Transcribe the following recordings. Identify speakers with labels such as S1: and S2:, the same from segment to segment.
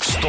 S1: Stå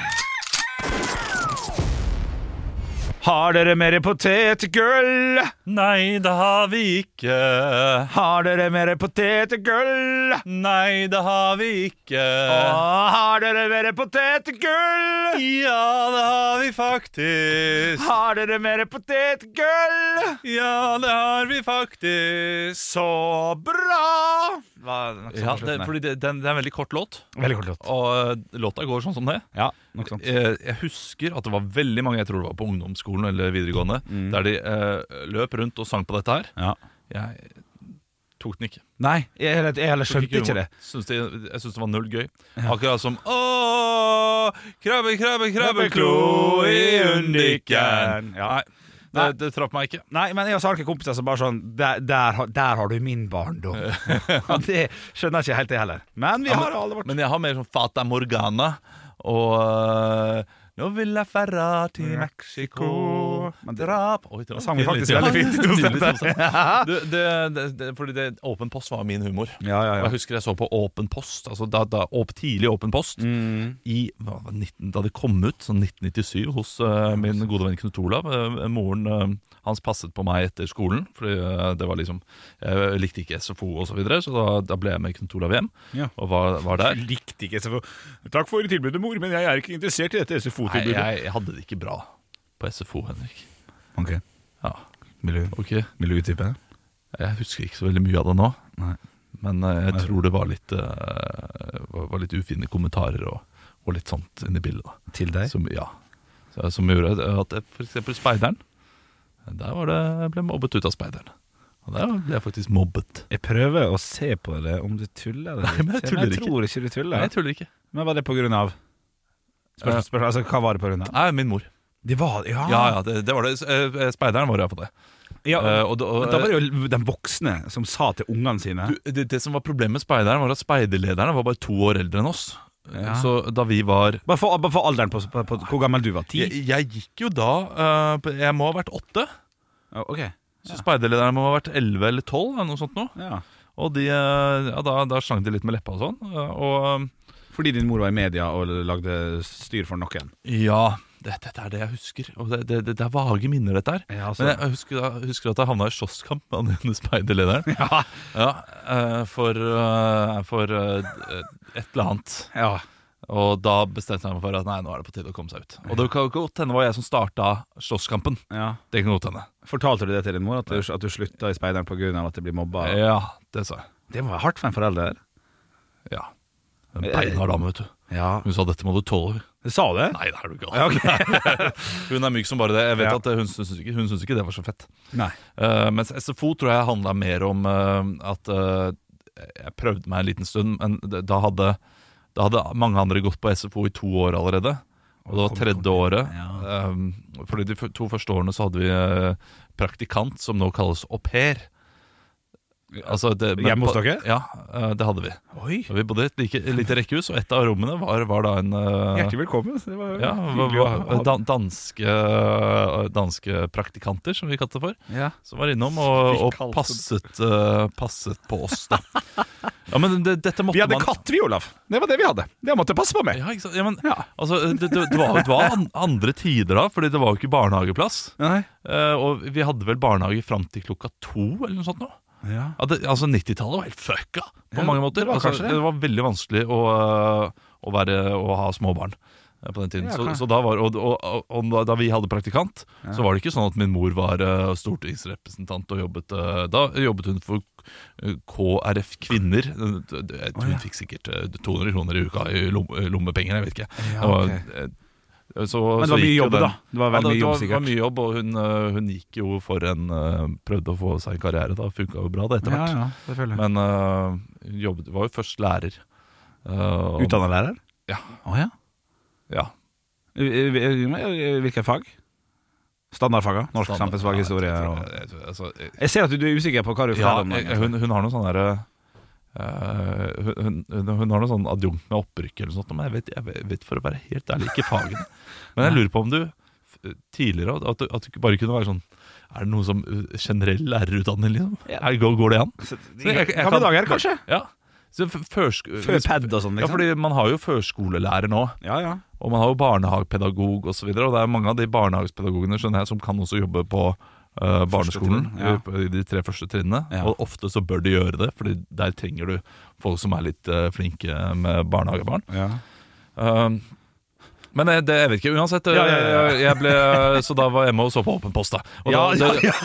S2: Har dere mer potetgull?
S3: Nei, det har vi ikke.
S2: Har dere mer potetgull?
S3: Nei, det har vi ikke.
S2: Å, har dere mer potetgull?
S3: Ja, det har vi faktisk.
S2: Har dere mer potetgull?
S3: Ja, det har vi faktisk.
S2: Så bra! Hva, nok sånn
S3: Ja,
S2: på
S3: det,
S2: slutten her.
S3: fordi det, det, er en, det er en veldig kort låt,
S2: Veldig kort låt.
S3: og eh, låta går sånn som det.
S2: Ja, nok sånt.
S3: Eh, Jeg husker at det var veldig mange jeg tror det var på ungdomsskolen eller videregående,
S2: Mm.
S3: der de eh, løp rundt og sang på dette her.
S2: Ja.
S3: Jeg tok den ikke.
S2: Nei, jeg, heller- jeg heller
S3: Tok
S2: skjønte ikke
S3: humor.
S2: det.
S3: Syns det. Jeg syns det var null gøy. Akkurat som Åh, krabbe, krabbe, krabbeklo i undiken.
S2: Ja.
S3: Nei, det,
S2: Nei.
S3: det traff meg ikke.
S2: Nei, men jeg har ikke kompiser som bare sånn der, der, har- der har du min barndom. Og det skjønner jeg ikke helt, det heller. Men vi
S3: Ja,
S2: har alle vårt.
S3: Men jeg har mer sånn Fata Morgana og øh, nå vil jeg ferra til Mexico
S2: Men det-
S3: Drap Oi, det var
S2: Det sang vi
S3: fint,
S2: faktisk veldig fint i to
S3: Nydelig
S2: stemmer.
S3: tostemte. Du, det, det, det, fordi det, Åpen post var min humor.
S2: Ja, ja,
S3: Og Jeg
S2: ja.
S3: husker jeg så på Åpen post, altså da, da, åp, tidlig Åpen post, i, hva var det, 19, da det kom ut, sånn 1997, hos øh, min gode venn Knut Olav. Øh, moren øh, hans passet på meg etter skolen, fordi øh, det var liksom Jeg likte ikke SFO og så videre, så da, da ble jeg med Knut Olav hjem,
S2: Ja.
S3: og var, var der.
S2: Likte ikke SFO. Takk for tilbudet, mor, men jeg er ikke interessert i dette
S3: Nei, jeg, jeg hadde det ikke bra på SFO, Henrik.
S2: Ok,
S3: Ja,
S2: vil du,
S3: ok.
S2: vil du utdype det?
S3: Jeg husker ikke så veldig mye av det nå,
S2: Nei.
S3: men eh, jeg tror det var litt, eh, var- var litt ufine kommentarer og, og litt sånt inni bildet. da.
S2: Til deg?
S3: Som, ja, Så- eh, som gjorde at jeg, for eksempel speideren, der var det, jeg ble mobbet ut av speideren. Og der ble jeg faktisk mobbet.
S2: Jeg prøver å se på det om du tuller eller
S3: Nei, men jeg tuller ikke.
S2: tror ikke du tuller.
S3: Nei, jeg tuller ikke.
S2: Men var det på grunn av Spørs,
S3: Eh.
S2: spørs, altså, Hva var det på grunn av?
S3: Nei, min mor.
S2: Det var ja.
S3: Ja, ja, det, det var det. Eh, Speideren var jeg på det.
S2: Ja,
S3: Eh, og, da- og,
S2: men Da var det jo de voksne som sa til ungene sine
S3: Du, det, det som var problemet med speideren, var at speiderlederne var bare to år eldre enn oss.
S2: Ja.
S3: Så da vi var
S2: Bare for, bare for alderen på, på, på hvor gammel du var. Ti?
S3: Jeg, jeg gikk jo da eh, på- Jeg må ha vært åtte.
S2: Ja, ok.
S3: Så speiderlederne må ha vært elleve eller tolv. Noe sånt nå.
S2: Ja.
S3: Og de, eh, ja, da, da slang de litt med leppa og sånn. eh, Og
S2: Fordi din mor var i media og lagde styr for noen.
S3: eh, ja, det, dette er det jeg husker. Og det, det, det, det er vage minner, dette her.
S2: Ja, altså.
S3: Men jeg husker, jeg husker at jeg havna i slåsskamp med han ene speiderlederen.
S2: ja.
S3: Ja, eh, for eh, for eh, et eller annet.
S2: ja.
S3: Og da bestemte jeg meg for at nei, nå er det på tide å komme seg ut. Og det kan jo godt hende det var jeg som starta slåsskampen.
S2: ja.
S3: Det kan godt hende.
S2: Fortalte du det til din mor, at du, at du slutta i speideren pga. at du blir mobba?
S3: Ja, det sa jeg.
S2: Det var hardt for en forelder.
S3: Ja. En
S2: eh,
S3: beinhard dame, vet du.
S2: Ja.
S3: Hun sa 'dette må du tåle'.
S2: Sa du det?
S3: Nei, det er du gal.
S2: Ja, ok.
S3: Hun er myk som bare det. Jeg vet
S2: Ja.
S3: at eh, hun syns ikke, hun syntes ikke det var så fett.
S2: Nei.
S3: Eh, mens SFO tror jeg handla mer om eh, at eh, jeg prøvde meg en liten stund, men det- da hadde, da hadde mange andre gått på SFO i to år allerede. Og det var tredje året.
S2: Ja.
S3: eh, fordi de f- to første årene så hadde vi eh, praktikant, som nå kalles au pair. Altså det- men
S2: Hjemme hos
S3: på-
S2: dere?
S3: Ja, eh, det hadde vi.
S2: Oi.
S3: Og vi bodde i et like, lite rekkehus, og et av rommene var, var da en eh,
S2: Hjertelig velkommen. Det var
S3: ja,
S2: hyggelig å
S3: hva-
S2: ha-
S3: hva- dan- danske, øh, danske praktikanter, som vi kalte det for,
S2: ja.
S3: som var innom og,
S2: Vi
S3: og
S2: kalte
S3: passet, eh, passet på oss. Da. Ja, men det, dette måtte
S2: Vi hadde
S3: man
S2: katt, vi, Olav. Det var det vi hadde. Det måtte jeg passe på med.
S3: Ja, ikke sant? Ja, men,
S2: Ja.
S3: altså, det, det, det var, det var an- andre tider da, fordi det var jo ikke barnehageplass.
S2: Nei.
S3: Eh, og vi hadde vel barnehage fram til klokka to, eller noe sånt. Nå.
S2: Ja.
S3: Ja, det, altså 90-tallet var helt fucka på
S2: Ja,
S3: mange måter.
S2: det var
S3: altså,
S2: kanskje det.
S3: det var veldig vanskelig å, øh, å, være, å ha småbarn eh, på den tiden.
S2: Ja,
S3: så,
S2: kanskje.
S3: så da var, og, og, og, da- da vi hadde praktikant, så var det ikke sånn at min mor var eh, stortingsrepresentant og jobbet eh, Da jobbet hun for eh, KrF Kvinner. Eh, d- d- Jeg
S2: Å,
S3: tror
S2: ja.
S3: hun fikk sikkert eh, 200 kroner i uka i lom- lommepenger, jeg vet ikke.
S2: Ja,
S3: Det var,
S2: ok.
S3: eh, så,
S2: Men det var
S3: så
S2: mye
S3: gikk jo
S2: jobb,
S3: den-
S2: da. Det var
S3: ja,
S2: veldig mye
S3: det, det
S2: jobb,
S3: var, var
S2: sikkert.
S3: mye jobb, og hun, øh, hun gikk jo for en øh, Prøvde å få seg en karriere, da. Funka jo bra, det, etter
S2: Ja,
S3: hvert.
S2: ja, det føler jeg.
S3: Men øh, hun jobbet, var jo først lærer. Uh, og-
S2: Utdanna lærer?
S3: Ja.
S2: Å, ja.
S3: Ja.
S2: Hvilke fag? Standardfaga? Norsk,
S3: Standard-
S2: samfunnsfag,
S3: ja,
S2: historie
S3: jeg tror-
S2: og
S3: jeg tror- altså, jeg-
S2: Jeg ser at du, du er usikker på hva du
S3: Ja,
S2: forteller om.
S3: jeg- hun, hun har noen sånne derre øh, hun, hun, hun har noen sånn adjunkt med opprykk eller noe sånt, men jeg vet, jeg vet- vet for å være helt ærlig ikke fagene. Men jeg lurer på om du f- eh, tidligere At du, at du ikke bare kunne være sånn Er det noe eh, som øh, generell lærerutdanning, liksom? Er, går, går det an?
S2: Så-
S3: Så jeg- jeg
S2: Gamle
S3: kan-
S2: dager, kanskje?
S3: Ja. Så f- førsk-
S2: Før pad og sånn,
S3: Ja,
S2: liksom.
S3: fordi man har jo førskolelærer nå,
S2: Ja, ja.
S3: og man har jo barnehagepedagog osv. Og, så videre, og det er mange av de barnehagepedagogene skjønner jeg, som kan også jobbe på eh, barneskolen
S2: trinn, ja.
S3: i- i de tre første trinnene.
S2: Ja.
S3: Og ofte så bør de gjøre det, Fordi der trenger du folk som er litt eh, flinke med barnehagebarn.
S2: ja.
S3: Um, men eh, det, jeg vet ikke, uansett eh,
S2: Ja, ja, ja.
S3: Jeg, jeg ble, øh, Så da var jeg hjemme og så på Åpen post da og
S2: Ja,
S3: da,
S2: ja, ja.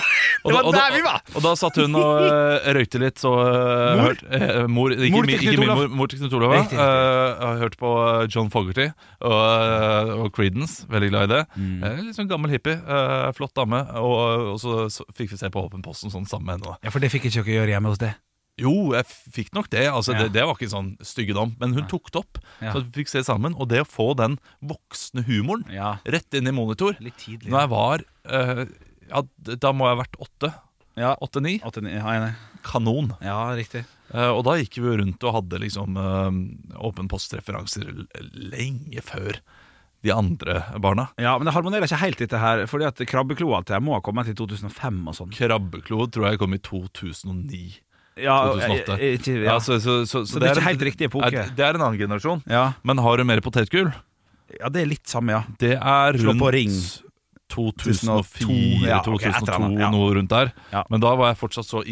S3: og
S2: Det
S3: da-
S2: var
S3: og da-
S2: der vi var!
S3: Og da satt hun og eh, røykte litt Så eh,
S2: Mor?
S3: hørte- eh, mor Ikke,
S2: Mor til
S3: min-
S2: Knut
S3: ikke min
S2: Olav.
S3: mor, mor til Knut Olav ja.
S2: Riktig, riktig,
S3: Eh, jeg Hørte på eh, John Fogerty og, eh, og Creedence, veldig glad i det
S2: Mm.
S3: Eh, Litt sånn gammel hippie, eh, flott dame og, eh, og så, så fikk vi se på Åpen posten sånn sammen med henne da
S2: Ja, For det fikk ikke dere gjøre hjemme hos deg.
S3: jo, jeg fikk nok det. Altså,
S2: Ja.
S3: det. Det var ikke sånn styggedom, men hun tok det opp.
S2: Ja.
S3: Så vi fikk se sammen. Og det å få den voksne humoren
S2: Ja,
S3: rett inn i monitor
S2: litt tidlig.
S3: Når jeg var eh, ja, d- Da må jeg ha vært åtte.
S2: Ja,
S3: Åtte-ni.
S2: åtte, ni- ja, nei.
S3: Kanon.
S2: ja, riktig.
S3: Eh, og da gikk vi jo rundt og hadde liksom eh, åpen postreferanser l- lenge før de andre barna.
S2: Ja, Men det harmonerer ikke helt, dette her. Fordi at krabbekloa til jeg må ha kommet i 2005 og sånn.
S3: Krabbeklo tror jeg kom i 2009.
S2: Ja,
S3: 2008.
S2: eh, Ikke,
S3: Ja.
S2: ja.
S3: så, så, så, så
S2: Så det er
S3: en-
S2: ikke helt riktig epoke.
S3: Nei, Det er en annen generasjon.
S2: Ja.
S3: Men har du mer potetgull?
S2: ja, det er litt samme, ja.
S3: Det er
S2: Slå
S3: rundt
S2: på ring.
S3: 2004,
S2: Ja, ok, et eller
S3: 2002,
S2: annet, ja.
S3: noe rundt der.
S2: Ja.
S3: Men da var jeg fortsatt så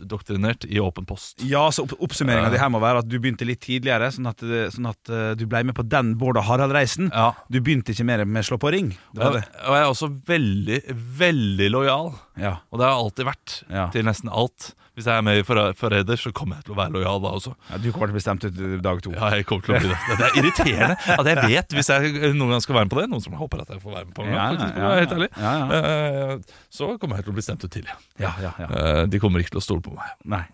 S3: indoktrinert i Åpen post.
S2: Ja, så opp Oppsummeringa di her må være at du begynte litt tidligere, sånn at, det- sånn at eh, du ble med på den Bård og Harald-reisen.
S3: Ja.
S2: Du begynte ikke mer med slå på ring. Det var
S3: Og
S2: det.
S3: jeg er også veldig, veldig lojal.
S2: Ja.
S3: Og det har jeg alltid vært,
S2: Ja.
S3: til nesten alt. Hvis jeg er med i Forræ- Forræder, så kommer jeg til å være lojal da også.
S2: ja, Du kommer til å bli stemt ut eh, dag to.
S3: Ja, jeg kommer til å bli det. Det er irriterende at jeg vet hvis jeg noen gang skal være med på det. Noen som håper at jeg får være med på det,
S2: Ja,
S3: faktisk,
S2: ja,
S3: for å være
S2: ja.
S3: helt ærlig.
S2: Ja, ja.
S3: Eh, Så kommer jeg til å bli stemt ut tidlig.
S2: Ja, ja, ja.
S3: Eh, De kommer ikke til å stole på meg.
S2: Nei,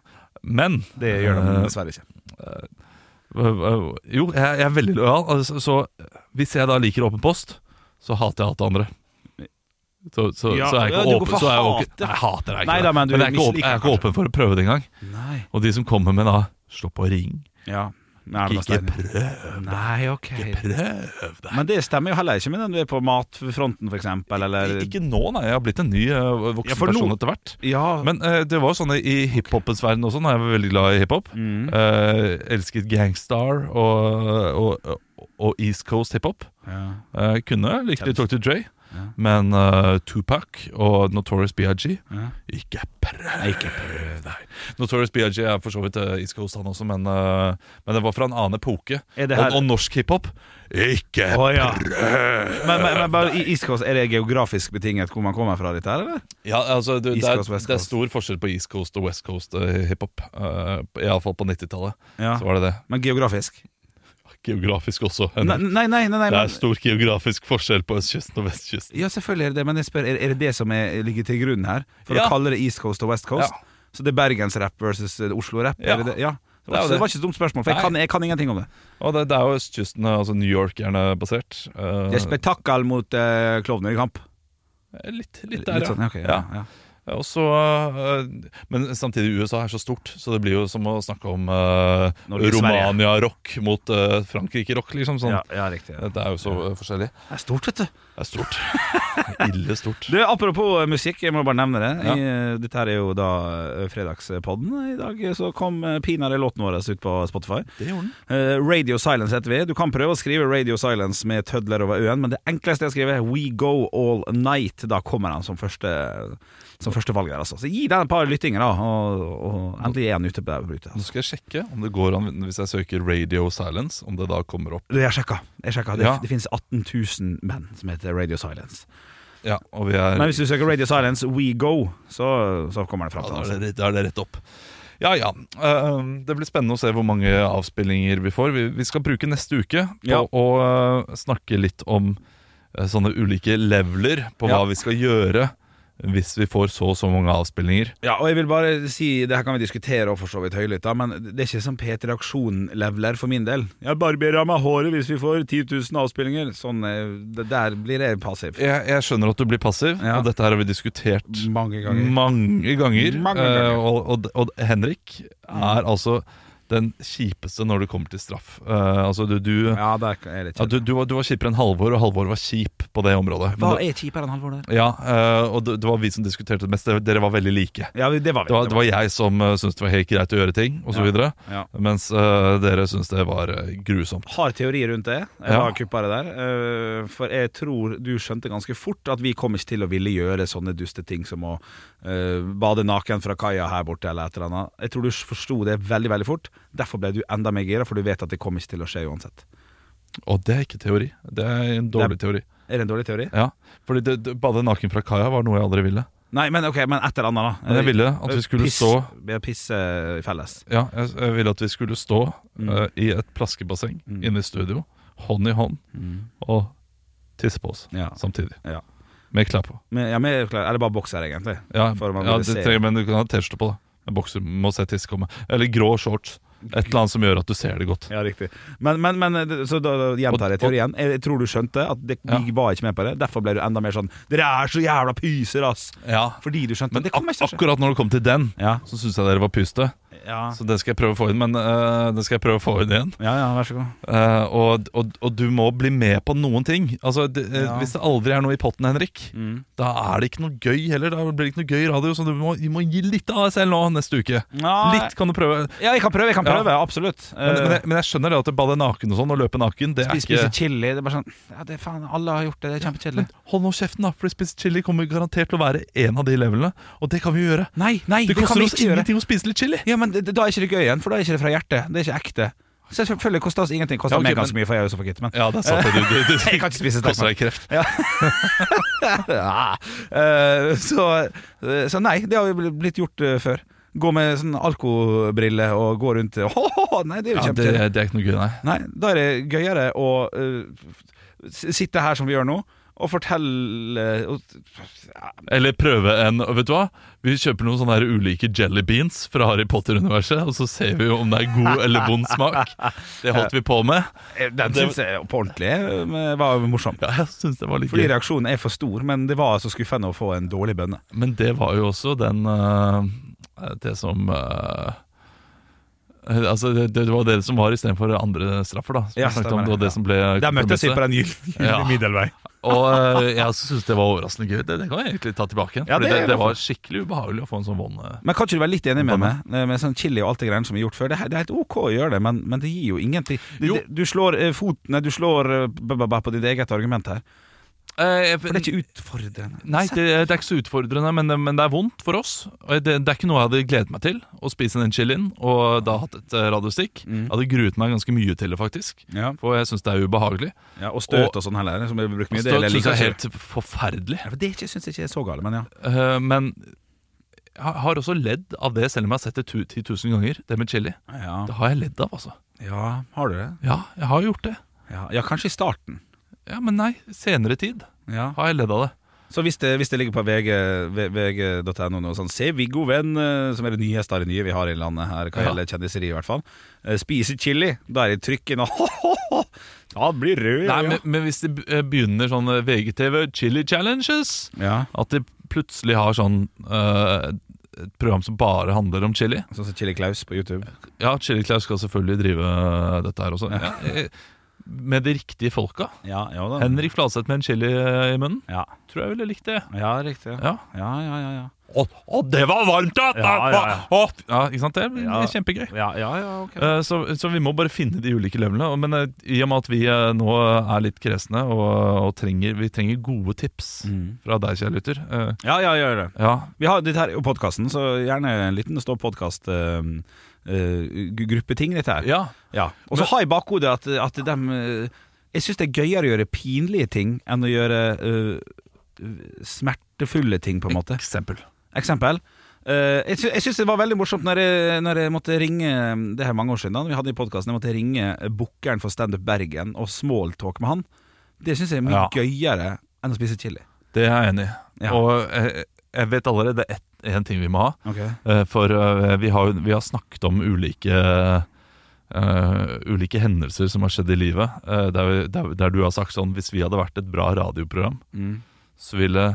S3: Men
S2: det gjør de
S3: eh,
S2: dessverre ikke.
S3: Øh, øh, Jo, jeg, jeg er veldig lojal. Altså, så hvis jeg da liker åpen post, så hater jeg alt det andre. Så, så,
S2: Ja,
S3: så er
S2: ja,
S3: jeg ikke
S2: du går
S3: åpen.
S2: for
S3: Så er jeg, jo
S2: hate.
S3: ikke, nei, jeg hater deg ikke.
S2: Nei da, men du
S3: jeg, er ikke åpen, jeg er ikke
S2: misliker
S3: åpen for å prøve det engang.
S2: Nei.
S3: Og de som kommer med da Slå på ring.
S2: Ja. Nei, det var
S3: Ikke
S2: Steiner.
S3: prøv,
S2: Nei, ok.
S3: ikke prøv deg.
S2: Men det stemmer jo heller ikke med den du er på matfronten, for eksempel. Eller
S3: Ikke nå, nei. Jeg har blitt en ny øh, voksen
S2: Ja, for nå-
S3: person etter hvert.
S2: Ja,
S3: Men øh, det var jo sånn i- i hiphopens verden også. Nå er jeg veldig glad i hiphop.
S2: Mm.
S3: Øh, elsket Gangstar og, og, og, og East Coast hiphop.
S2: ja.
S3: Eh, kunne likt litt Dr. Dre,
S2: Ja.
S3: men eh, Tupac og Notorious BIG
S2: Ja.
S3: Ikke prøv!
S2: Ikke prøv
S3: deg. Notorious BIG er for så vidt uh, East Coast, han også, men, eh, men det var fra en annen epoke.
S2: Er det her-
S3: Og, og norsk hiphop Ikke
S2: Å ja. Men, men, men bare i East Coast, er det geografisk betinget hvor man kommer fra, dette her, eller?
S3: ja, altså, du,
S2: East
S3: det, er,
S2: Coast, West
S3: det er
S2: Coast.
S3: stor forskjell på East Coast og West Coast uh, hiphop. Uh, Iallfall på 90-tallet.
S2: Ja.
S3: Så var det det.
S2: Men geografisk?
S3: Geografisk også.
S2: Nei,
S3: Henrik.
S2: nei, nei. nei, nei
S3: det
S2: men,
S3: er stor geografisk forskjell på østkysten og vestkysten.
S2: ja, selvfølgelig er det det, men jeg spør, er, er det det som er, ligger til grunn her? For
S3: Ja.
S2: å kalle det East Coast og West Coast?
S3: Ja.
S2: Så det er Bergensrapp versus eh, Oslo-rapp?
S3: Ja.
S2: er det det? ja. Det
S3: Det er
S2: var,
S3: jo
S2: ikke-
S3: det.
S2: det var ikke et dumt spørsmål, for jeg
S3: Nei.
S2: kan, jeg kan ingenting om det.
S3: Og det, det er jo østkysten, altså New York gjerne basert. Eh,
S2: Det er spetakkel mot eh, klovner i kamp.
S3: Litt, litt der,
S2: Litt sånn, ok,
S3: ja.
S2: ja, ja.
S3: Ja, og så, øh, men samtidig, USA er så stort, så det blir jo som å snakke om øh,
S2: Norge,
S3: Romania-rock mot øh, Frankrike-rock, liksom. Sånn.
S2: Ja, ja, riktig. Ja.
S3: Det er jo så øh, forskjellig.
S2: Det er stort, vet du.
S3: Det er stort. Ille stort.
S2: du. Apropos eh, musikk, jeg må bare nevne det.
S3: Ja.
S2: I, eh, dette her er jo da eh, fredagspodden. I dag eh, så kom eh, pinadø låten vår ut på Spotify.
S3: Det gjorde den.
S2: Eh, Radio Silence heter vi. Du kan prøve å skrive Radio Silence med tødler over øen, men det enkleste er å skrive We Go All Night. Da kommer han som første, som første valg her, altså. Så gi den et par lyttinger, da, og, og endelig er han ute på rute.
S3: Nå
S2: Altså.
S3: skal jeg sjekke om det går an hvis jeg søker Radio Silence, om det da kommer opp.
S2: Du, Jeg sjekka. Jeg sjekka. Det,
S3: Ja. Eh,
S2: det finnes 18 000 menn som heter Radio Silence.
S3: Ja, og vi er
S2: Men hvis du søker Radio Silence We Go, så, så kommer det fram
S3: Ja,
S2: til
S3: da
S2: han.
S3: er
S2: Altså.
S3: det, rett- da er det rett opp. Ja ja. Eh, Det blir spennende å se hvor mange avspillinger vi får. Vi- Vi skal bruke neste uke på
S2: Ja.
S3: å eh, snakke litt om eh, sånne ulike leveler på
S2: Ja.
S3: hva vi skal gjøre hvis vi får så og så mange avspillinger.
S2: Ja, og jeg vil bare si, det her kan vi diskutere og for så vidt høylytt, da, men det er ikke som Peter Aksjon-leveler for min del. Jeg barberer meg håret hvis vi får 10 000 avspillinger. Sånn, eh, det der blir jeg passiv.
S3: Jeg, jeg skjønner at du blir passiv,
S2: Ja.
S3: og dette her har vi diskutert
S2: Mange ganger.
S3: mange ganger.
S2: Mange ganger. Mm.
S3: Eh, og, og, og Henrik er altså den kjipeste når det kommer til straff. Eh, altså, du, du, ja,
S2: Ja, der er det
S3: du,
S2: kjedelig.
S3: du, var, du var kjipere enn Halvor, og Halvor var kjip på det området.
S2: Hva
S3: Men det-
S2: er kjipere enn Halvor der?
S3: ja, eh, og det, det var vi som diskuterte det mest. Dere- Dere var veldig like.
S2: Ja, det var vi.
S3: Det var, det var jeg som uh, syntes det var helt greit å gjøre ting, og så
S2: Ja.
S3: videre
S2: Ja.
S3: Mens eh, dere syntes det var eh, grusomt.
S2: Hard teori rundt det. Jeg
S3: Ja.
S2: var kuppere der. eh, For jeg tror du skjønte ganske fort at vi kom ikke til å ville gjøre sånne duste ting som å eh, bade naken fra kaia her borte eller et eller annet. Jeg tror du forsto det veldig veldig fort. Derfor ble du enda mer gira, for du vet at det kommer ikke til å skje uansett.
S3: Og det er ikke teori. Det er en dårlig teori.
S2: Er det en dårlig teori?
S3: Ja, fordi det, det, Bade naken fra kaia var noe jeg aldri ville.
S2: Nei, men ok, men et eller annet, da. Eh,
S3: Men jeg ville at vi skulle
S2: piss,
S3: stå
S2: ja, Pisse i felles.
S3: Ja, jeg, jeg ville at vi skulle stå
S2: Mm.
S3: eh, i et plaskebasseng inne i studio, hånd i hånd, og tisse på oss
S2: Mm. Ja.
S3: samtidig.
S2: Ja.
S3: Med klær på.
S2: Men, ja, men, eller bare bokser, egentlig.
S3: Ja,
S2: For man
S3: ja
S2: ville
S3: du
S2: se.
S3: trenger, men du kan ha T-skjorte på, da. En bokser må se tisse komme. Eller grå shorts. Et eller annet som gjør at du ser det godt.
S2: Ja, riktig. Men, men, men så da, da gjentar jeg teorien. Jeg tror du skjønte at det, vi var ikke med på det. Derfor ble du enda mer sånn Dere er så jævla pyser, ass!
S3: Ja,
S2: Fordi du skjønte
S3: Men
S2: det kommer
S3: ak
S2: ikke til å skje.
S3: akkurat når det kom til den,
S2: Ja.
S3: så syns jeg dere var pyste.
S2: Ja.
S3: Så den skal jeg prøve å få inn, men eh, den skal jeg prøve å få inn igjen.
S2: ja, ja, vær så god.
S3: Eh, og, og, og du må bli med på noen ting. Altså, det, eh,
S2: Ja.
S3: Hvis det aldri er noe i potten, Henrik, da er det ikke noe gøy heller. Da blir det ikke noe gøy radio, så du må, du må gi litt av deg selv nå neste uke.
S2: Ja.
S3: Litt kan du prøve.
S2: Ja, jeg kan prøve, jeg kan
S3: Ja.
S2: prøve, absolutt.
S3: Men, men,
S2: Eh,
S3: jeg, men jeg skjønner det at det bade naken og sånn, og løpe naken, det er
S2: spise, spise
S3: ikke
S2: chili. Det er bare sånn Ja, det er faen, alle har gjort det. Det er kjempekjedelig.
S3: men hold nå kjeften, da, for spise chili kommer garantert til å være en av de levelene. Og det kan vi jo gjøre.
S2: Nei, nei,
S3: Det
S2: det, kan
S3: koster
S2: vi
S3: oss
S2: ikke gjøre.
S3: ingenting å spise litt chili.
S2: Ja, men det, da er ikke det gøy igjen, for da er ikke det fra hjertet. Det er ikke ekte. Så selvfølgelig koster oss ingenting. Koster
S3: Ja, ok,
S2: meg ganske mye, for jeg er jo sofakitt, men
S3: Ja, det er sant. det. Du, du,
S2: Jeg
S3: du,
S2: kan ikke spise
S3: det
S2: sterkt.
S3: koster deg kreft.
S2: Ja. Eh, så, eh, så nei, det har jo bl- blitt gjort eh, før. Gå med sånn alkobrille og gå rundt og Nei, det er jo
S3: Ja, det,
S2: kjempekjedelig.
S3: det er ikke noe gøy, nei.
S2: Nei, da er det gøyere å eh, s- sitte her som vi gjør nå, og fortelle og,
S3: Eller prøve en Vet du hva? Vi kjøper noen sånne her ulike jelly beans fra Harry Potter-universet, og så ser vi jo om det er god eller vond smak. Det holdt vi på med.
S2: Eh, Den syns jeg på ordentlig eh, var morsom.
S3: Ja, jeg synes det var litt
S2: Fordi
S3: gøy.
S2: reaksjonen er for stor, men det var så skuffende å få en dårlig bønne.
S3: Men det var jo også den eh, Det som eh, Altså, det, det var det som var istedenfor andre straffer, da. Som
S2: Ja,
S3: jeg snakket
S2: stemmer
S3: om, det var
S2: det,
S3: det som ble
S2: Der møttes vi på
S3: kompromisset.
S2: den gylne gylne
S3: Ja.
S2: middelvei.
S3: Og eh, jeg også synes det var overraskende gøy. Det, det kan jeg egentlig ta tilbake igjen.
S2: Ja,
S3: fordi
S2: det
S3: det,
S2: er
S3: det,
S2: jeg
S3: var skikkelig ubehagelig å få en sånn vond eh,
S2: Men kan ikke du være litt enig med
S3: Hva
S2: meg? eh, Med sånn chili og alt det greiene som er gjort før. Det er, det er helt ok å gjøre det, men, men det gir jo ingenting. Du,
S3: Jo.
S2: det- du slår eh, foten Nei, du slår eh, ba, ba, ba, på ditt eget argument her.
S3: eh,
S2: For det er ikke utfordrende.
S3: Nei, det, det er ikke så utfordrende, men, men det er vondt for oss. Og Det, det er ikke noe jeg hadde gledet meg til, å spise den chilien og da hatt et eh, radiostikk.
S2: Mm.
S3: Jeg hadde gruet meg ganske mye til det, faktisk.
S2: Ja.
S3: For jeg syns det er ubehagelig.
S2: ja, Og støt og, sånn heller, som jeg bruker mye.
S3: Støt
S2: det
S3: syns jeg er
S2: helt...
S3: helt forferdelig.
S2: Det ikke- syns jeg ikke er så gale, men ja.
S3: Eh, men jeg har også ledd av det, selv om jeg har sett det tu- 10 000 ganger, det med chili.
S2: Ja,
S3: Det har jeg ledd av, altså.
S2: ja har du det?
S3: Ja, jeg har gjort det.
S2: Ja, ja kanskje i starten.
S3: Ja, Men nei, senere tid
S2: Ja.
S3: har jeg ledd av det.
S2: Så hvis det, hvis det ligger på VG, v- vg.no nå sånn Se Viggo Venn, eh, som er det nyeste av det nye vi har i landet her, hva
S3: Ja.
S2: gjelder kjendiseri i hvert fall, eh, spiser chili. Da er det trykk inn og Ja, det blir rød.
S3: Nei,
S2: ja.
S3: men, men hvis de be- eh, begynner sånn eh, VGTV Chili Challenges
S2: ja.
S3: At de plutselig har sånn eh, et program som bare handler om chili.
S2: Sånn som Chili Klaus på YouTube.
S3: Ja, Chili Klaus skal selvfølgelig drive dette her også. Ja. eh, Med de riktige folka.
S2: Ja, ja da.
S3: Henrik Fladseth med en chili i munnen.
S2: Ja,
S3: Tror jeg ville likt det.
S2: ja riktig. Ja.
S3: Ja.
S2: Ja, ja, ja, ja.
S3: Å, det var varmt, da!
S2: Ja, ja, ja.
S3: Å, ja, ikke sant? Det blir
S2: Ja.
S3: kjempegøy.
S2: Ja, ja, ja, ok.
S3: Eh, Så, så vi må bare finne de ulike levelene. og- Men eh, i og med at vi eh, nå er litt kresne og, og trenger, vi trenger gode tips fra deg, kjære lytter eh,
S2: ja, ja, gjør det.
S3: Ja,
S2: Vi har dette her i podkasten, så gjerne en liten stå podkast gruppeting, dette her.
S3: ja.
S2: Ja. Og så har jeg i bakhodet at, at de Jeg syns det er gøyere å gjøre pinlige ting enn å gjøre eh, smertefulle ting, på en måte.
S3: Eksempel.
S2: Eksempel. eh, jeg, sy jeg syns det var veldig morsomt når jeg, når jeg måtte ringe Det her er mange år siden da, vi hadde i podcasten, Jeg måtte ringe bookeren for Standup Bergen og smalltalk med han. Det syns jeg er mye
S3: Ja.
S2: gøyere enn å spise chili.
S3: Det er jeg enig i.
S2: Ja.
S3: Og eh, jeg vet allerede det er én ting vi må ha. eh, For eh, vi har, jo- vi har snakket om ulike eh, ulike hendelser som har skjedd i livet. eh, der, vi- der, der du har sagt sånn Hvis vi hadde vært et bra radioprogram,
S2: Mm.
S3: så ville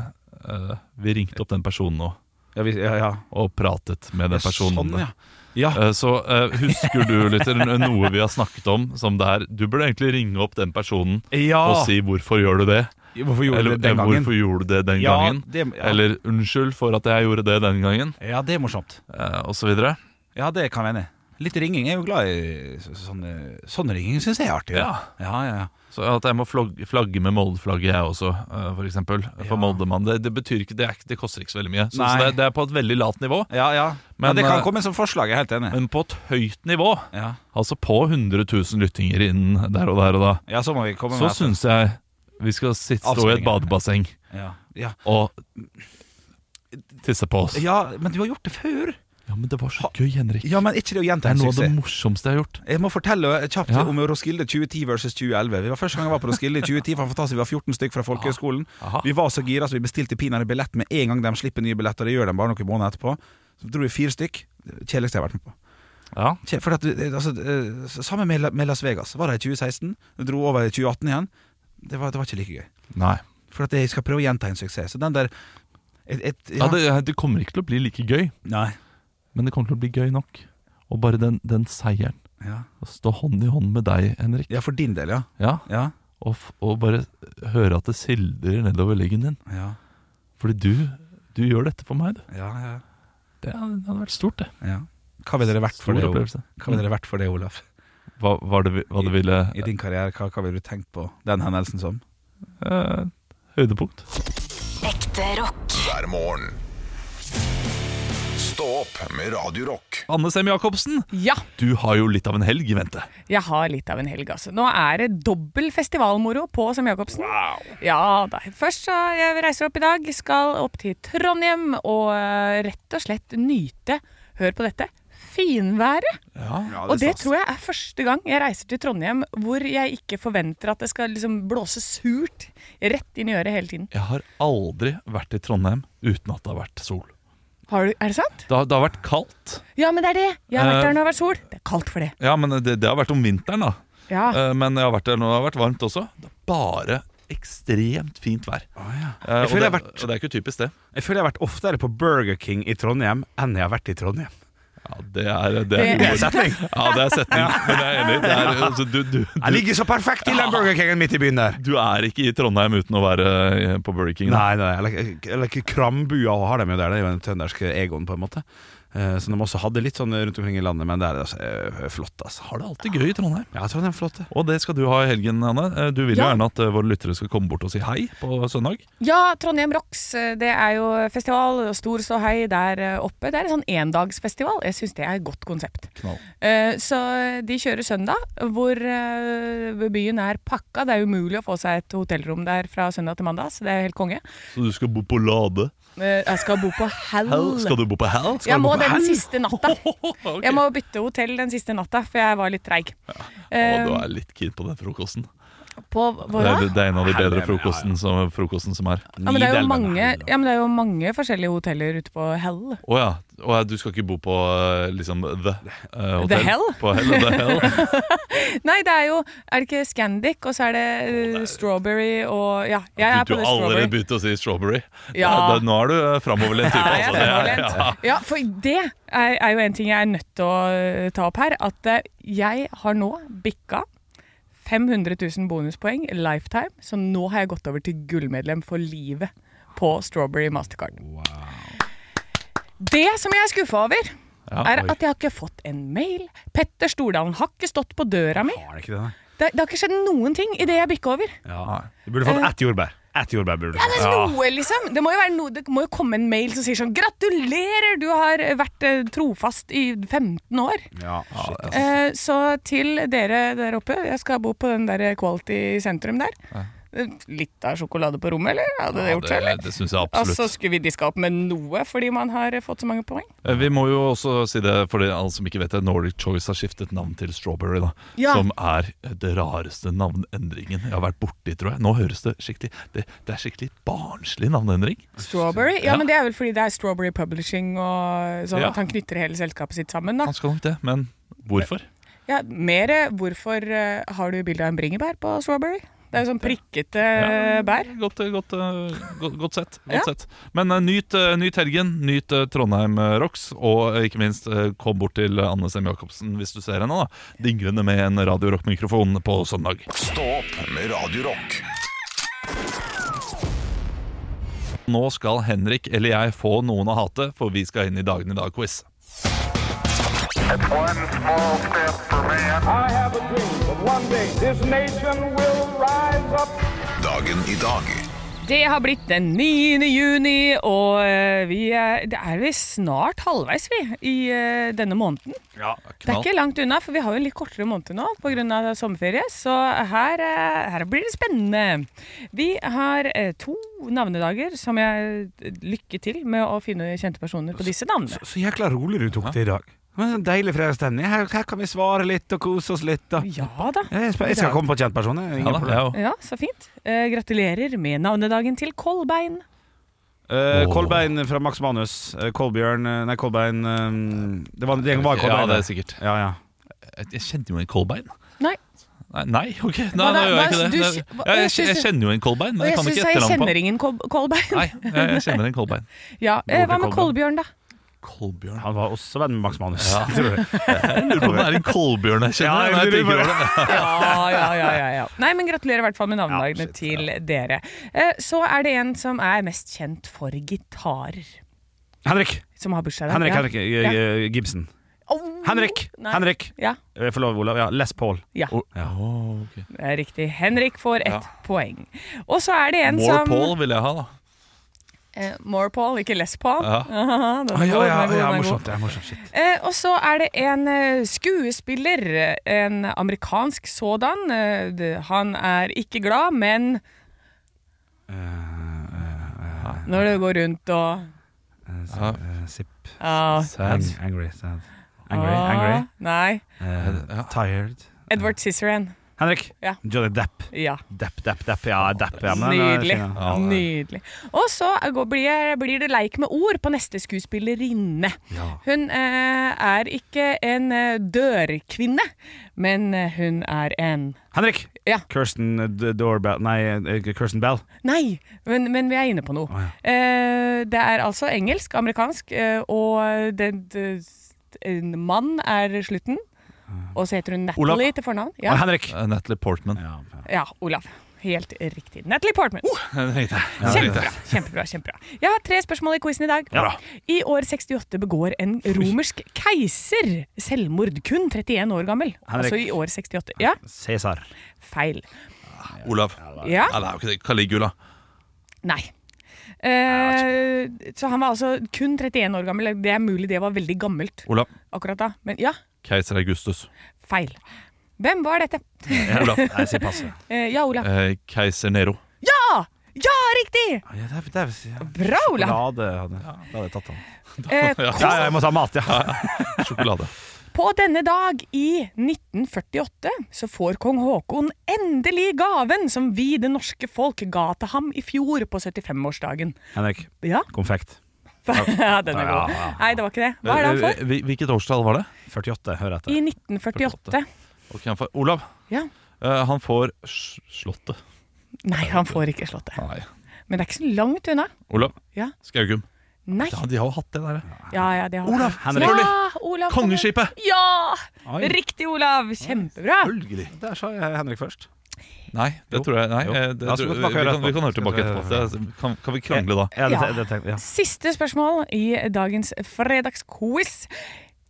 S3: eh, vi ringt opp den personen nå
S2: Ja, vi, ja, ja.
S3: og pratet med den
S2: Ja,
S3: personen.
S2: Sånn, ja. Ja.
S3: Eh, Så eh, husker du lytter, n- noe vi har snakket om som det er Du burde egentlig ringe opp den personen
S2: Ja.
S3: og si 'hvorfor gjør du det?'
S2: Hvorfor Ah. gjorde
S3: Eller
S2: du det den
S3: eh,
S2: gangen?
S3: 'hvorfor gjorde du det den
S2: Ja,
S3: gangen?'
S2: det- ja.
S3: Eller 'unnskyld for at jeg gjorde det den gangen',
S2: Ja, det er morsomt.
S3: eh, og så videre.
S2: Ja, det kan jeg enig i. Litt ringing er jo glad i så- sånne, sånne ringing syns jeg er artig.
S3: Ja.
S2: ja, ja, ja.
S3: Så at jeg må flagge, flagge med Molde-flagget, jeg også, eh, for eksempel. For Moldemann. Det, det betyr ikke, det, er, ikke- det koster ikke så veldig mye. Så, så
S2: Nei.
S3: det, det er på et veldig lavt nivå.
S2: ja, ja. Men,
S3: Men,
S2: det kan
S3: eh,
S2: komme som forslag, jeg er helt enig.
S3: Men på et høyt nivå,
S2: Ja,
S3: altså på 100 000 lyttinger innen der og der og da,
S2: ja så må vi komme
S3: så
S2: med
S3: syns jeg vi skal sitte, stå i et
S2: Avspringen.
S3: badebasseng
S2: ja. Ja.
S3: og tisse på oss.
S2: ja, men du har gjort det før.
S3: Ja, men det var så gøy, Henrik.
S2: Ja, men ikke det å gjenta
S3: Det er
S2: en
S3: noe av det
S2: suksess.
S3: morsomste jeg har gjort.
S2: Jeg må fortelle eh, kjapt
S3: Ja.
S2: om Roskilde 2010 versus 2011. Vi var Første gang jeg var på Roskilde i 2010, var fantastisk. Vi var 14 stykk fra folkehøyskolen.
S3: Aha.
S2: Vi var så gira, så vi bestilte pinadø billett med en gang de slipper nye billetter. Det gjør de bare noen måneder etterpå. Så dro vi fire stykk. Kjedeligste jeg har vært med på.
S3: Ja.
S2: Kje- For at, eh, altså, eh, sammen med La- med Las Vegas var det i 2016. Vi dro over i 2018 igjen. Det var, det var ikke like gøy.
S3: Nei.
S2: For at jeg skal prøve å gjenta en suksess. Så den der et, et,
S3: Ja, det, det kommer ikke til å bli like gøy,
S2: Nei.
S3: men det kommer til å bli gøy nok. Og bare den, den seieren.
S2: Ja.
S3: Å stå hånd i hånd med deg, Henrik.
S2: ja, for din del, ja.
S3: Ja.
S2: Ja.
S3: og, f- og bare høre at det sildrer nedover leggen din.
S2: Ja,
S3: Fordi du, du gjør dette for meg, du.
S2: ja. ja,
S3: Det hadde hadde vært stort, det.
S2: ja. Hva ville dere vært for
S3: Stor
S2: det, Olaf?
S3: opplevelse.
S2: Hva ville dere vært for det, Olaf?
S3: Hva, var det, vi- hva det ville
S2: I din karriere, hva, hva ville du tenkt på den hendelsen som?
S3: eh, Høydepunkt.
S4: Ekte rock.
S1: hver morgen. Stå opp med Radio Rock.
S3: Anne Sem Jacobsen,
S5: Ja,
S3: du har jo litt av en helg i vente.
S5: jeg har litt av en helg, altså. Nå er det dobbel festivalmoro på Sem Jacobsen. Ja da. Først så jeg reiser opp i dag, skal opp til Trondheim og eh, rett og slett nyte, hør på dette, finværet. og det tror jeg er første gang jeg reiser til Trondheim hvor jeg ikke forventer at det skal liksom blåse surt rett inn i øret hele tiden.
S3: Jeg har aldri vært i Trondheim uten at det har vært sol.
S5: Har du, er det sant?
S3: Det har, det har vært kaldt.
S5: Ja, men det er det. Jeg har vært
S3: Eh.
S5: der når det har vært sol. Det er kaldt for det.
S3: Ja, men det, det har vært om vinteren, da.
S5: Ja.
S2: Ah.
S3: Eh, Men jeg har vært der når det har vært varmt også. Det er bare ekstremt fint vær. Eh,
S2: Jeg
S3: og,
S2: føler
S3: det,
S2: jeg har vært-
S3: og det er ikke typisk, det.
S2: Jeg føler jeg har vært oftere på Burger King i Trondheim enn jeg har vært i Trondheim.
S3: Ja, det er, det er,
S5: Det-
S2: Det er en setning!
S3: Ja, det er setning. Men jeg er enig. Det er, altså, du, du,
S2: Jeg
S3: du,
S2: ligger så perfekt til den Burger Kingen midt i byen der!
S3: du er ikke i Trondheim uten å være eh, på Burger King. da.
S2: Nei, nei, eller, eller ikke Krambua har dem jo der, det er jo den trønderske egoen, på en måte. Eh, Som de også hadde litt sånn rundt omkring i landet, men det er altså, eh, flott, altså.
S3: Har det alltid gøy i Trondheim.
S2: Ja, jeg tror den er flott, det.
S3: Og det skal du ha i helgen, Anne. Eh, Du vil jo
S5: Ja.
S3: gjerne at eh, våre lyttere skal komme bort og si hei på søndag.
S5: Ja, Trondheim Rocks. eh, Det er jo festival, stor ståhei der oppe. Det er en sånn endagsfestival. Jeg syns det er et godt konsept.
S3: Knall.
S5: Eh, Så de kjører søndag, hvor eh, byen er pakka. Det er umulig å få seg et hotellrom der fra søndag til mandag, så det er helt konge.
S3: Så du skal bo på Lade.
S5: Eh, Jeg skal bo på Hell.
S3: Hell. Skal du bo på Hell? Skal
S5: Mm. Jeg
S3: du
S5: må
S3: bo på
S5: det den
S3: Hell?
S5: siste natta.
S3: Ok.
S5: Jeg må bytte hotell den siste natta, for jeg var litt treig.
S3: Å,
S5: Eh,
S3: du er litt keen på den frokosten.
S5: På
S3: Det
S5: hva da?
S3: er, det er en av de bedre
S2: Helvete,
S3: frokosten som, frokosten som er.
S5: Ja, men det er jo
S2: Nidelven
S5: mange,
S2: Hell.
S5: ja, men det er jo mange forskjellige hoteller ute på Hell.
S3: Å ja. Å ja, du skal ikke bo på eh, liksom The eh, hotell?
S5: The Hell?
S3: På hell, the hell.
S5: Nei, det er jo Er det ikke Scandic, og så er det eh, Strawberry og Ja, jeg er
S3: Du
S5: på
S3: har
S5: det
S3: allerede
S5: Strawberry.
S3: begynt å si strawberry.
S5: Ja.
S3: da, nå er du eh, framoverlent type.
S5: Ja, jeg er
S3: altså. Det er-
S5: fremoverlent. Ja, for det er, er jo en ting jeg er nødt til å eh, ta opp her. At eh, jeg har nå bikka 500 000 bonuspoeng lifetime, så nå har jeg gått over til gullmedlem for livet på Strawberry Mastercard. Det som jeg er skuffa over,
S3: Ja,
S5: er
S3: oi.
S5: at jeg har ikke fått en mail. Petter Stordalen har ikke stått på døra mi.
S2: Har det ikke det, nei?
S5: Det, det har ikke skjedd noen ting i det jeg bikka over.
S2: Ja. Du burde fått ett jordbær. Ett jordbær burde du
S5: Ja, men
S2: fått.
S5: noe, liksom. Det må jo, være noe, det må jo komme en mail som sier sånn Gratulerer, du har vært eh, trofast i 15 år.
S2: Ja, shit, ass.
S5: Eh, så til dere der oppe, jeg skal bo på den der Quality sentrum der. Eh, Litt av sjokolade på rommet, eller? Hadde
S3: Ja,
S5: det gjort Altså, seg,
S3: det,
S5: eller?
S3: det syns jeg
S5: Og
S3: absolutt.
S5: så skulle vi diska opp med noe fordi man har eh, fått så mange poeng.
S3: Eh, Vi må jo også si det, for det, alle som ikke vet det, Nordic Choice har skiftet navn til Strawberry. da
S5: Ja.
S3: Som er eh, det rareste navnendringen jeg har vært borti, tror jeg. Nå høres det skikkelig Det, det er skikkelig barnslig navneendring.
S5: Strawberry? Ja,
S3: Ja.
S5: men det er vel fordi det er Strawberry Publishing og sånn
S3: Ja.
S5: at han knytter hele selskapet sitt sammen, da.
S3: Han skal nok det, men hvorfor?
S5: Ja, Mere hvorfor eh, har du bilde av en bringebær på Strawberry? Det er jo sånn prikkete eh, bær.
S3: Godt, godt, eh, godt, godt sett. Godt
S5: Ja.
S3: sett. Men eh, nyt, eh, nyt helgen, nyt eh, Trondheim eh, Rocks, og eh, ikke minst eh, kom bort til Anne Sem Jacobsen hvis du ser henne. da Digg henne med en Radio Rock-mikrofon på søndag.
S1: Stå opp med Radio Rock.
S3: Nå skal Henrik eller jeg få noen å hate, for vi skal inn i Dagen i dag-quiz.
S6: One small step for man.
S7: I have a dream that one day this nation will rise up.
S1: Dagen i dag
S5: Det har blitt den 9. juni, og eh, vi er, det er vi snart halvveis vi, i eh, denne måneden.
S3: Ja,
S5: Det er ikke langt unna, for vi har jo en litt kortere måned nå pga. sommerferie. Så her, eh, her blir det spennende. Vi har eh, to navnedager som jeg eh, lykke til med å finne kjente personer på disse navnene.
S2: Så jækla rolig du tok det i dag. Men en Deilig fredagsstemning. Her, her kan vi svare litt og kose oss litt. Og.
S5: Ja da.
S2: Jeg, er spen- jeg skal komme på kjentperson. jeg.
S3: Ja,
S2: Ingen
S3: da,
S2: problem.
S3: jeg òg.
S5: Ja, Så fint. Eh, gratulerer med navnedagen til Kolbein.
S2: Eh,
S3: Åh.
S2: Kolbein fra Max Manus. Eh, Kolbjørn eh, Nei, Kolbein eh, Det var, det var Kolbein.
S3: Ja, det er sikkert.
S2: Ja, ja.
S3: Jeg, jeg kjente jo en Kolbein.
S5: Nei.
S3: Nei, nei ok. Nei,
S5: Hva da?
S3: da gjør jeg
S5: Hva-
S3: ikke det.
S5: du
S3: Nei,
S5: kj- hva-
S3: jeg,
S5: jeg
S3: jeg,
S5: synes du-
S3: kjenner jo en Kolbein,
S5: Og
S3: men jeg
S5: jeg
S3: kan
S5: syns
S3: ikke
S5: jeg
S3: etternavnet på
S5: kjenner
S3: han.
S5: ingen Kol- Kolbein.
S3: Nei, jeg, jeg kjenner en Kolbein.
S5: Ja, eh, Hva
S3: Går til
S5: med Kolbjørn, da?
S3: Kolbjørn
S2: Han var også venn med Max Manus. Tror jeg.
S3: Jeg lurer på om det er en Kolbjørn jeg
S2: Ja,
S3: kjenner.
S2: jeg
S3: Nei, jeg
S2: lurer
S3: tenker
S2: bare-
S3: over det.
S5: Ja, ja, ja, ja, ja. Nei, men gratulerer i hvert fall med navnedagene
S2: Ja, shit,
S5: til dere. Eh, Så er det en som er mest kjent for gitarer.
S2: Henrik!
S5: Som har bursdag i dag.
S2: Henrik, Henrik
S5: Ja.
S2: eh, eh, Gibson.
S5: Au!
S2: Henrik!
S5: Nei.
S2: Henrik!
S5: Ja,
S2: Jeg får lov, Olav. Ja, Les Paul.
S5: ja,
S3: Åh, ok.
S5: det er riktig. Henrik får ett poeng. Og så er det en
S3: More
S5: som
S3: Paul vil jeg ha, da.
S5: Eh, More Paul, ikke Less Paul.
S3: Ja.
S5: Aha, den er
S2: Ah, ja, ja,
S5: god, den er
S2: ja,
S5: god, den er god.
S2: morsomt. Ja, morsomt shit.
S5: Eh, og så er det en eh, skuespiller, en amerikansk sådan. Eh, det- han er ikke glad, men Når du går rundt og
S2: Eh, si-
S3: Ja.
S2: eh, Sip.
S5: ah,
S2: Ang, angry. Sad. Angry.
S5: ah,
S2: angry.
S5: Nei.
S2: Eh, tired.
S5: Edward Ciceren.
S2: Henrik!
S5: Ja.
S2: Johnny Depp.
S5: Ja.
S2: Depp, Depp, Depp. Ja, Depp. Ja, men, eh,
S5: Nydelig.
S2: fin, ja.
S3: Ja, det er-
S5: Nydelig. Og så går- blir, blir det leik med ord på neste skuespillerinne. Hun eh, er ikke en eh, dørkvinne, men eh, hun er en
S2: Henrik!
S5: Ja.
S2: Kirsten eh, D- Doorbell Nei, eh, Kirsten Bell.
S5: Nei, men, men vi er inne på noe.
S2: Å,
S5: eh, det er altså engelsk, amerikansk, eh, og det, det, en mann er slutten.
S2: Ah.
S5: Og så heter hun Natalie
S3: Olav.
S5: til fornavn.
S2: Og
S5: Ja,
S2: Henrik!
S3: Eh, Natalie Portman.
S2: Ja, ja.
S5: ja Olav. Helt riktig. Natalie Portman. Kjempebra, kjempebra, kjempebra. Jeg har tre spørsmål i quizen i dag.
S2: Ja da.
S5: I år 68 begår en romersk keiser selvmord, kun 31 år gammel.
S2: Henrik.
S5: Altså i år 68. Ja,
S2: Cæsar.
S5: feil.
S3: Olav.
S5: Ja,
S3: Nei, det er jo ikke det. Caligula.
S5: nei. Eh, så han var altså kun 31 år gammel. Det er mulig det var veldig gammelt
S3: Olav.
S5: akkurat da. Men ja,
S3: Keiser Augustus.
S5: feil. Hvem var dette?
S3: Olav.
S2: Nei, si passe.
S5: Eh, ja, Olav.
S3: Eh, Keiser Nero.
S5: Ja! Ja, riktig!
S2: Ja, det er, det er, ja.
S5: Bra, Olav.
S2: Sjokolade hadde, da hadde jeg tatt han.
S5: Eh,
S3: Ja,
S2: Ja, jeg må ta mat, ja.
S3: Sjokolade.
S5: På denne dag i 1948 så får kong Haakon endelig gaven som vi det norske folk ga til ham i fjor på 75-årsdagen.
S2: Henrik,
S5: Ja,
S2: konfekt.
S5: ja, den er
S2: Ja, ja,
S5: god.
S2: ja.
S5: Nei, det var ikke det. Hva er det han får?
S3: Eh, hvil- Hvilket årstall var det?
S2: 48, hør
S5: I
S2: etter.
S5: 1948.
S3: Ok, han får, Olav.
S5: Ja.
S3: Eh, han får sl- Slottet.
S5: Nei, han får ikke slått det.
S3: Nei.
S5: Men det er ikke så langt unna.
S3: Olav.
S5: Ja.
S3: Skaugum.
S5: Nei.
S3: Ja, de har jo hatt det der.
S5: Ja, ja, det har
S3: Olav,
S2: Henrik.
S5: Ja, Olav kom igjen.
S3: Kongeskipet!
S5: Ja!
S2: Oi.
S5: Riktig, Olav. Kjempebra.
S2: Der sa jeg Henrik først.
S3: Nei, det
S2: Jo.
S3: tror jeg nei,
S2: Jo.
S3: eh, det,
S2: La oss
S3: tror-
S2: gå
S3: vi,
S2: tilbake og høre
S3: kan, vi kan høre
S2: etterpå.
S3: tilbake etterpå. Det, er- kan, kan vi krangle da?
S2: Ja, det,
S5: Ja.
S2: det tenkte jeg. Ja.
S5: Siste spørsmål i dagens fredagsquiz.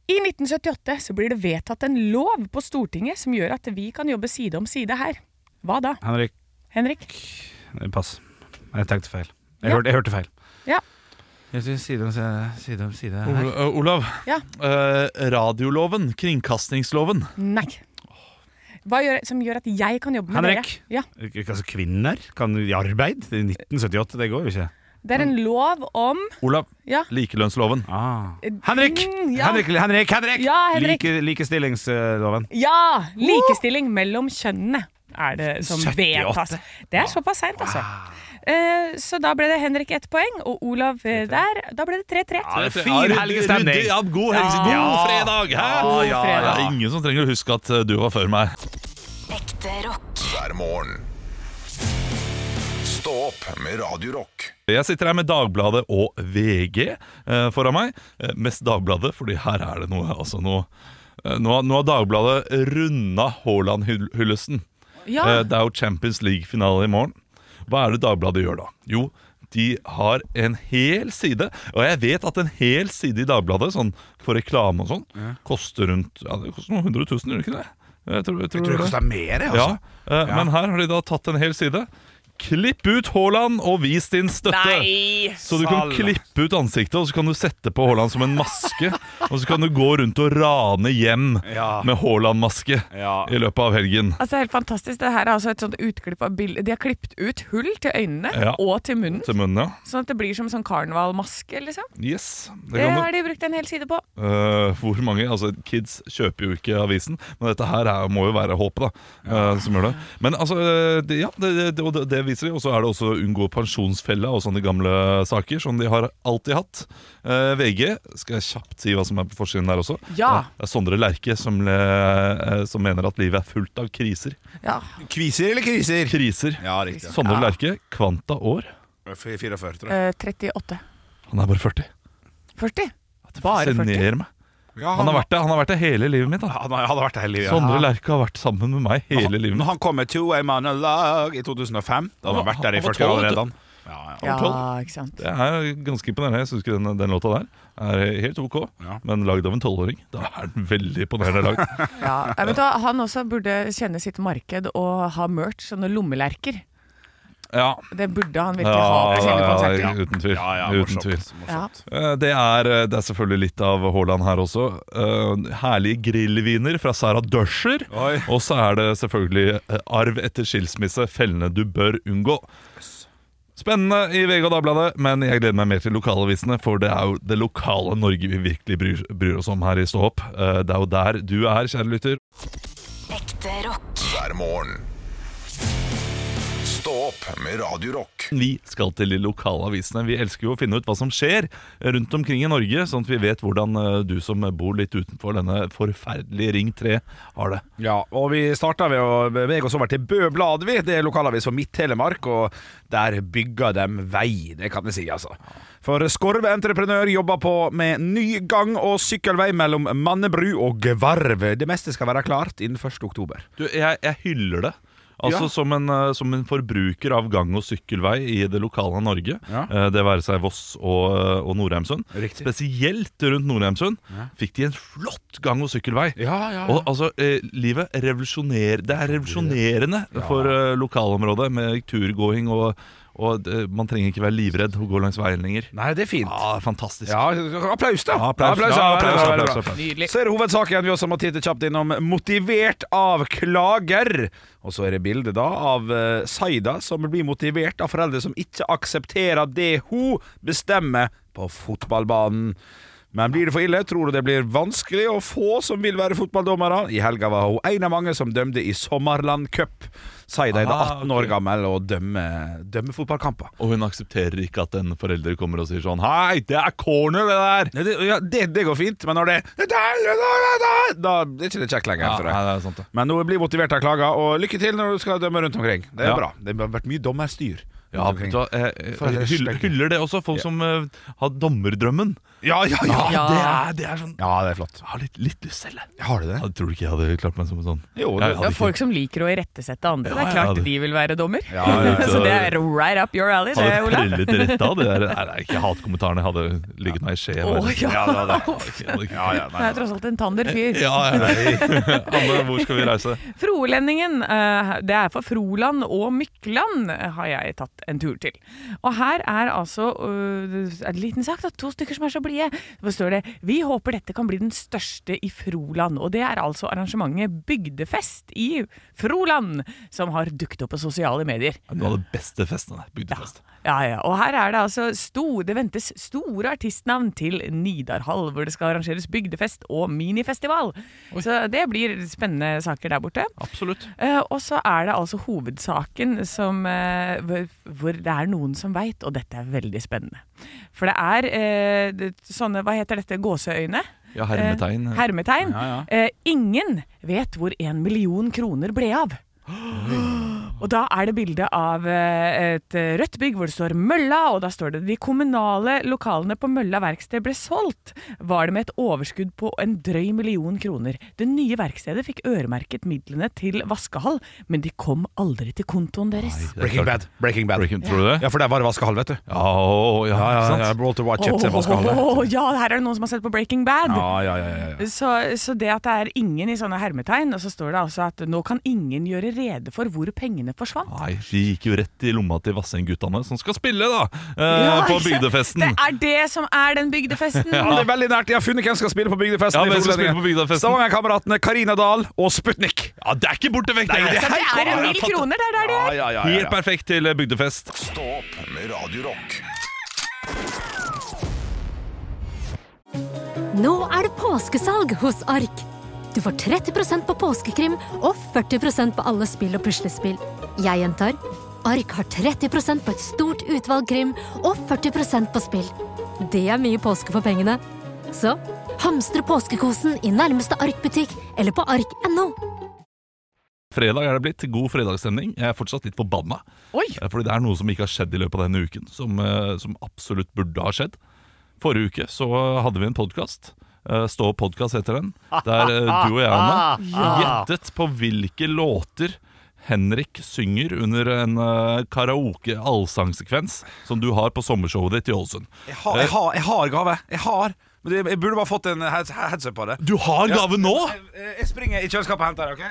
S5: I 1978 så blir det vedtatt en lov på Stortinget som gjør at vi kan jobbe side om side her. Hva da,
S2: Henrik,
S5: Henrik?
S2: pass. Jeg tenkte feil. Jeg,
S5: Ja.
S2: hørte, jeg hørte feil.
S5: Ja.
S2: Jeg synes Side om side, side om side her.
S3: Ol- eh, Olav.
S5: Ja.
S3: Eh, radioloven. Kringkastingsloven.
S5: Nei. Hva gjør, som gjør at jeg kan jobbe med
S2: Henrik?
S5: dere? Ja,
S2: K- Altså, kvinner kan i arbeid? Det er 1978, det går jo ikke.
S5: det er en
S2: Mm.
S5: lov om
S3: Olav.
S5: Ja.
S3: Likelønnsloven.
S2: Ah. Henrik!
S5: Mm, ja.
S2: Henrik! Henrik! Henrik!
S5: Ja, Henrik.
S2: Like, likestillingsloven.
S5: Ja! Likestilling mellom kjønnene er det som
S2: 78.
S5: vedtas. Det er såpass seint, altså. Eh, så da ble det Henrik ett poeng, og Olav eh, der. Da ble det 3-3.
S2: Ja, det er fin helgestemning.
S3: Ryddig, Ja, god helg,
S5: Ja.
S3: god fredag! Hæ?
S5: Ja, ja, ja.
S3: Det er ingen som trenger å huske at eh, du var før meg.
S4: Ekte rock.
S1: hver morgen. Stå opp med Radio Rock.
S3: Jeg sitter her med Dagbladet og VG eh, foran meg. Eh, mest Dagbladet, fordi her er det noe altså Nå, eh, nå, har- nå har Dagbladet runda Haaland-hyllesten.
S5: Ja.
S3: Eh, det er jo Champions League-finale i morgen. Hva er det Dagbladet gjør da? Jo, de har en hel side, og jeg vet at en hel side i Dagbladet sånn for reklame og sånn koster rundt ja, det koster noen hundre tusen, gjør det ikke det? Jeg tror, jeg tror
S2: Tror du det
S3: det.
S2: koster mer, jeg,
S3: Ja,
S2: altså?
S3: eh, Men her har de da tatt en hel side. Klipp ut Haaland og vis din støtte!
S5: Nei!
S3: Så du kan
S2: Sal.
S3: klippe ut ansiktet, og så kan du sette på Haaland som en maske. Og så kan du gå rundt og rane hjem
S2: Ja.
S3: med Haaland-maske
S2: Ja.
S3: i løpet av helgen.
S5: Altså, det er helt fantastisk. Det her er altså et sånt utklipp av bilde. De har klippet ut hull til øynene
S3: Ja.
S5: og til munnen,
S3: Til munnen, ja.
S5: sånn at det blir som en sånn karnevalmaske, liksom.
S3: Yes. Det
S5: Det
S3: kan du.
S5: har de brukt en hel side på.
S3: Eh, hvor mange? Altså, kids kjøper jo ikke avisen, men dette her er, må jo være håpet, da. eh, som gjør det. Men altså, eh, det, ja, det, det, og det, det viser de. Og så er det også å unngå pensjonsfella og sånne gamle saker, som de har alltid hatt. Eh, VG, skal jeg kjapt si hva som er på forsiden der også?
S5: Ja.
S3: Det er Sondre Lerche som, eh, som mener at livet er fullt av kriser.
S5: Ja.
S2: Kviser eller kriser?
S3: Kriser.
S2: Ja, riktig.
S3: Sondre Lerche, kvanta år.
S2: 44, tror jeg.
S5: Eh, 38.
S3: Han er bare 40.
S5: 40?
S3: Det
S5: Bare 40?
S3: fascinerer meg. Han har vært det, han har vært det hele livet mitt. da
S2: han har- hadde vært det hele livet. ja.
S3: Sondre Lerche har vært sammen med meg hele livet. mitt
S2: Når han kom med To A Monologue i 2005, da hadde han vært der i
S3: Han var
S2: 40 år
S3: tolv, vet du.
S2: allerede. han. Ja, ja.
S5: Ja,
S3: tolv.
S5: ikke sant.
S3: Det er ganske imponerende. Jeg syns ikke den, den låta der er helt ok,
S2: Ja.
S3: men lagd av en tolvåring. Da er den veldig imponerende lagd.
S5: Ja. Eh, Vet du, hva, han også burde kjenne sitt marked og ha merch, sånne lommelerker.
S3: Ja.
S5: Det burde han virkelig ha
S3: Ja,
S5: på sine
S3: ja,
S5: konserter.
S3: ja, uten tvil.
S2: Ja, ja,
S3: uten
S2: morsomt.
S3: tvil.
S5: Ja.
S2: morsomt.
S3: Eh, Det er, det er selvfølgelig litt av Haaland her også. Eh, Herlige grillviner fra Sarah Dusher.
S2: Oi.
S3: Og så er det selvfølgelig eh, arv etter skilsmisse, fellene du bør unngå. Spennende i VG og Dagbladet, men jeg gleder meg mer til lokalavisene. For det er jo det lokale Norge vi virkelig bryr, bryr oss om her i Stå opp. Eh, Det er jo der du er, kjære lytter.
S4: Ekte rock.
S1: hver morgen. Stå opp med Radio Rock.
S3: Vi skal til de lokale avisene. Vi elsker jo å finne ut hva som skjer rundt omkring i Norge, sånn at vi vet hvordan eh, du som bor litt utenfor denne forferdelige Ring 3, har det.
S2: Ja, og vi starta ved å bevege oss over til Bø Blad, vi. Det er lokalavis for Midt-Telemark, og der bygger de vei, det kan jeg si, altså. For Skorve entreprenør jobber på med ny gang- og sykkelvei mellom Mannebru og Gvarv. Det meste skal være klart innen 1. oktober.
S3: Du, jeg, jeg hyller det. Altså
S2: Ja.
S3: som, en, eh, som en forbruker av gang- og sykkelvei i det lokale Norge.
S2: Ja.
S3: Eh, Det være seg Voss og, eh, og Nordheimsund.
S2: Riktig.
S3: Spesielt rundt Nordheimsund fikk de en flott gang- og sykkelvei.
S2: Ja, ja,
S3: Og altså, eh, livet revolusjonerer Det er revolusjonerende for eh, lokalområdet med turgåing og, og eh, man trenger ikke være livredd og gå langs veien lenger.
S2: Nei, det er fint.
S3: Ja, fantastisk.
S2: Ja, applaus, da!
S3: Ja, applaus.
S2: applaus,
S3: Ja, applaus,
S2: applaus, applaus,
S3: applaus, applaus.
S5: Nydelig.
S2: Så er det hovedsaken vi også må titte kjapt innom. Motivert av klager. Og så er det bildet da av eh, Saida som blir motivert av foreldre som ikke aksepterer det hun bestemmer på fotballbanen. Men blir det for ille, tror du det blir vanskelig å få som vil være fotballdommere? I helga var hun en av mange som dømte i Sommerland Cup. Saida er da
S3: Ah,
S2: 18
S3: ok.
S2: år gammel og dømmer, dømmer fotballkamper.
S3: Og hun aksepterer ikke at en forelder kommer og sier sånn Hei, det er corner, det der!
S2: Ja, det, ja, det, det går fint, men når det er Da er ikke det kjekt lenger.
S3: Ja,
S2: tror jeg.
S3: nei, det er sant, det.
S2: Men nå blir motivert av klager, og lykke til når du skal dømme rundt omkring. Det er
S3: Ja.
S2: bra. Det har vært mye dommerstyr.
S3: Ja,
S2: rundt omkring.
S3: vet du hva, jeg, jeg,
S2: For det er
S3: hyller,
S2: stygge.
S3: hyller det også. Folk som eh, har dommerdrømmen.
S2: ja, ja, Ah, ja.
S5: Ja.
S3: Det, er, det er sånn
S2: ja, det er flott.
S3: Jeg har litt, litt lyst selv, jeg.
S2: Har du det?
S3: Ja, Tror du ikke jeg hadde klart meg som en sånn?
S2: Jo,
S3: Jeg
S2: det-
S5: Ja,
S3: hadde
S5: folk som liker å irettesette andre. Det
S3: Ja,
S5: er
S3: ja,
S5: klart
S3: det-
S5: de vil være dommer.
S2: Ja, ja, ja.
S5: Så det er right up your alley, det,
S3: hadde
S5: Ola.
S3: prellet rett av det der. Nei, nei, ikke hatkommentarene. Jeg hadde ligget meg i skje. jeg
S5: Å,
S3: bare-
S5: ja.
S2: det var det.
S3: Jeg hadde ikke-
S2: Ja, ja,
S5: Han
S2: nei,
S5: er tross alt en tander fyr.
S3: Ja, ja, ja. Anne, hvor skal vi reise?
S5: Frolendingen, eh, det er for Froland og Mykland eh, har jeg tatt en tur til. Og her er altså eh, en liten sak, da, to stykker som er så blide. Hvor står det 'Vi håper dette kan bli den største i Froland'. Og det er altså arrangementet Bygdefest i Froland som har dukket opp på sosiale medier.
S3: Noe av de beste festene. der, Bygdefest.
S5: Ja, ja. Og her er det altså sto- det ventes store artistnavn til Nidarhall, hvor det skal arrangeres bygdefest og minifestival. Så det blir spennende saker der borte.
S3: Absolutt.
S5: Eh, og så er det altså hovedsaken som, eh, hvor, hvor det er noen som veit, og dette er veldig spennende. For det er eh, det, sånne, hva heter dette, gåseøyne?
S3: Ja, hermetegn.
S5: Eh, hermetegn.
S2: Ja, ja.
S5: Eh, ingen vet hvor en million kroner ble av. Og da er det bilde av eh, et rødt bygg hvor det står Mølla, og da står det de kommunale lokalene på Mølla verksted ble solgt. Var det med et overskudd på en drøy million kroner. Det nye verkstedet fikk øremerket midlene til vaskehall, men de kom aldri til kontoen deres.
S3: sånn.
S2: Breaking Bad. Breaking Bad.
S3: Breaking, tror du det?
S2: Ja, for der var det vaskehall, vet du.
S3: Ja, å, ja,
S2: Ja,
S3: ikke
S2: ja,
S3: sant?
S2: ja, Walter Whitechip til vaskehall.
S5: Åh, ja, her er det noen som har sett på Breaking Bad.
S2: Ja, ja, ja, ja, ja.
S5: Så, så det at det er ingen i sånne hermetegn, og så står det altså at nå kan ingen gjøre rede for hvor pengene forsvant.
S3: Nei, de gikk jo rett i lomma til Vassendguttane, som skal spille, da! Eh,
S5: Ja,
S3: på
S5: ikke sant?
S3: bygdefesten.
S5: Det er det som er den bygdefesten!
S2: Ja, det er veldig nært. Jeg har funnet hvem som skal spille på bygdefesten.
S3: Ja,
S2: i
S3: hvem skal
S2: Fotlendinger.
S3: spille på bygdefesten?
S2: Stavangerkameratene Karina Dahl og Sputnik.
S3: Ja, det er ikke borte vekk!
S2: Nei,
S5: Så
S3: det
S5: det
S3: her
S5: er en
S3: kommer-
S5: mill kroner, det er der det er!
S2: ja, ja,
S3: Helt perfekt til eh, bygdefest.
S1: Stå opp med Radio Rock.
S8: Nå er det påskesalg hos Ark. Du får 30 på påskekrim og 40 på alle spill og puslespill. Jeg gjentar Ark har 30 på et stort utvalg krim og 40 på spill. Det er mye påske for pengene. Så hamstre påskekosen i nærmeste Ark-butikk eller på ark.no.
S3: Fredag er det blitt. God fredagsstemning. Jeg er fortsatt litt forbanna.
S5: Oi!
S3: Eh, Fordi det er noe som ikke har skjedd i løpet av denne uken, som, eh, som absolutt burde ha skjedd. Forrige uke så hadde vi en podkast. Stå podkast heter den. Der eh, du og jeg, Anna, gjettet på hvilke låter Henrik synger under en eh, karaoke-allsangsekvens som du har på sommershowet ditt i Ålesund.
S2: Jeg har, jeg har, jeg har gave. Jeg har. Men jeg- jeg burde bare fått en heads- headset på det.
S3: Du har
S2: Ja.
S3: gave nå?!
S2: Jeg, jeg springer i kjøleskapet og henter det. ok?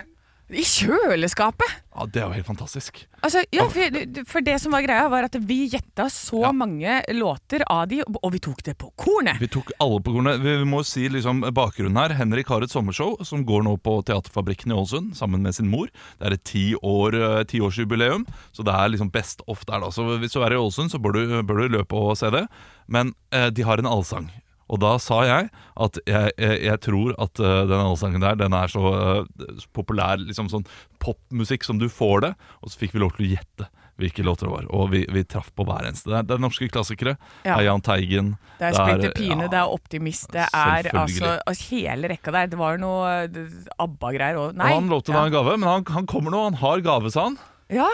S5: I kjøleskapet!
S3: Ja, Det er jo helt fantastisk.
S5: Altså, ja, for, for det som var greia, var at vi gjetta så mange låter av de, og vi tok det på kornet.
S3: Vi tok alle på kornet. Vi må si liksom bakgrunnen her. Henrik har et sommershow som går nå på Teaterfabrikken i Ålesund sammen med sin mor. Det er et ti år, eh, tiårsjubileum, så det er liksom best of der. da. Så hvis du er i Ålesund, så bør du, bør du løpe og se det. Men eh, de har en allsang. Og da sa jeg at jeg, jeg, jeg tror at eh, den allsangen der den er så, eh, så populær liksom sånn popmusikk som du får det. Og så fikk vi lov til å gjette hvilke låter det var. Og vi, vi traff på hver eneste. Det er, det er norske klassikere. Det
S5: Ja.
S3: er Jahn Teigen.
S5: Det er Splitter
S3: ja.
S5: Pine, det er Optimist, det er altså
S3: Selvfølgelig.
S5: altså, hele rekka der. Det var noe eh, ABBA-greier òg. Nei.
S3: Og han lovte da en gave, men han, han kommer nå. Han har gave, sa han.
S5: Ja.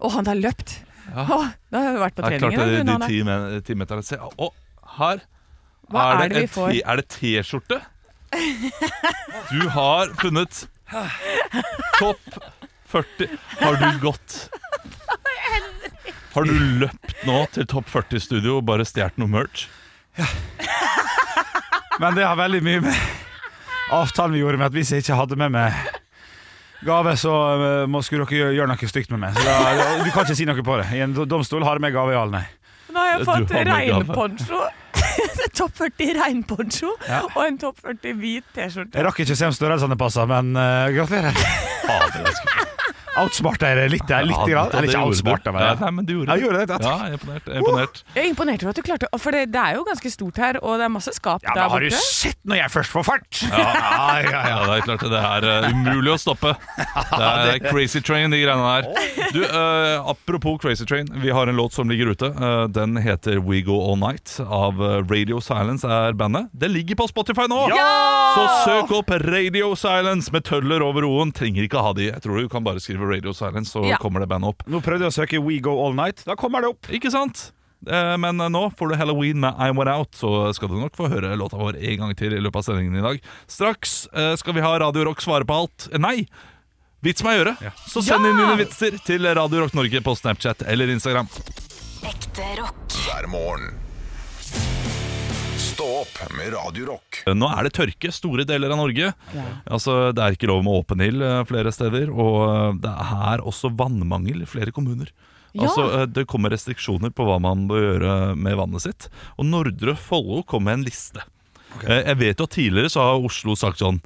S5: Og han har løpt. Åh, da har vi vært på
S3: Det er klart
S5: treningen.
S3: det, de
S5: da, hun,
S3: ti, men- ti meterne Se, og her
S5: Hva er det vi
S3: en
S5: får?
S3: T- Er det T-skjorte? Du har funnet topp 40 Har du gått Har du løpt nå til topp 40 studio og bare stjålet noe merch?
S2: Men det har veldig mye med avtalen vi gjorde med at hvis jeg ikke hadde med meg gave, så eh, må skulle dere gjøre, gjøre noe stygt med meg. Så da, eh, du kan ikke si noe på det. I en do- domstol har du med gave, ja eller nei.
S5: Nå har jeg
S3: Du har
S5: fått
S3: med gave.
S5: regnponcho. topp 40 regnponcho
S2: Ja.
S5: og en topp 40 hvit T-skjorte.
S2: Jeg rakk ikke å se om størrelsene passa, men eh, gratulerer.
S3: Fader, jeg skulle-
S2: Outsmart dere litt, eh, litt
S3: Ja, det-
S2: grann.
S3: det
S2: Eller ikke
S3: gjorde
S2: outsmart,
S3: du.
S2: da, men-
S3: Nei, Nei, men du gjorde
S2: Jeg gjorde det, takk.
S3: Ja, jeg er imponert. jeg er imponert.
S5: Jeg er imponert over at du klarte å- For det, det er jo ganske stort her, og det er masse skap
S2: Ja, men
S5: der
S2: har du
S5: borte.
S2: sett når jeg først får fart? Ja, ja,
S3: Ja, det er klart det. Det er eh, umulig å stoppe. Det er Crazy Train, de greiene der. Du, eh, apropos Crazy Train, vi har en låt som ligger ute. Eh, den heter We Go All Night av eh, Radio Silence er bandet. Det ligger på Spotify nå! Så søk opp Radio Silence med tødler over o-en. Trenger ikke ha de. Jeg tror du kan bare skrive Radio Silence, så
S5: Ja.
S3: kommer det bandet opp.
S2: Nå prøvde jeg å søke We Go All Night. Da kommer det opp.
S3: Ikke sant? Eh, Men eh, nå får du Halloween med I Went Out, så skal du nok få høre låta vår en gang til i løpet av sendingen i dag. Straks eh, skal vi ha Radio Rock svare på alt. Eh, Nei! Vits meg i øret! Så send inn dine vitser til Radio Rock Norge på Snapchat eller Instagram.
S4: Ekte rock.
S1: hver morgen. Stå opp med Radio Rock.
S3: Eh, Nå er det tørke store deler av Norge. Altså, det er ikke lov med åpen ild eh, flere steder, og eh, det er også vannmangel i flere kommuner.
S5: Ja.
S3: Altså, eh, Det kommer restriksjoner på hva man bør gjøre med vannet sitt. Og Nordre Follo kom med en liste. Eh, Jeg vet jo at tidligere så har Oslo sagt sånn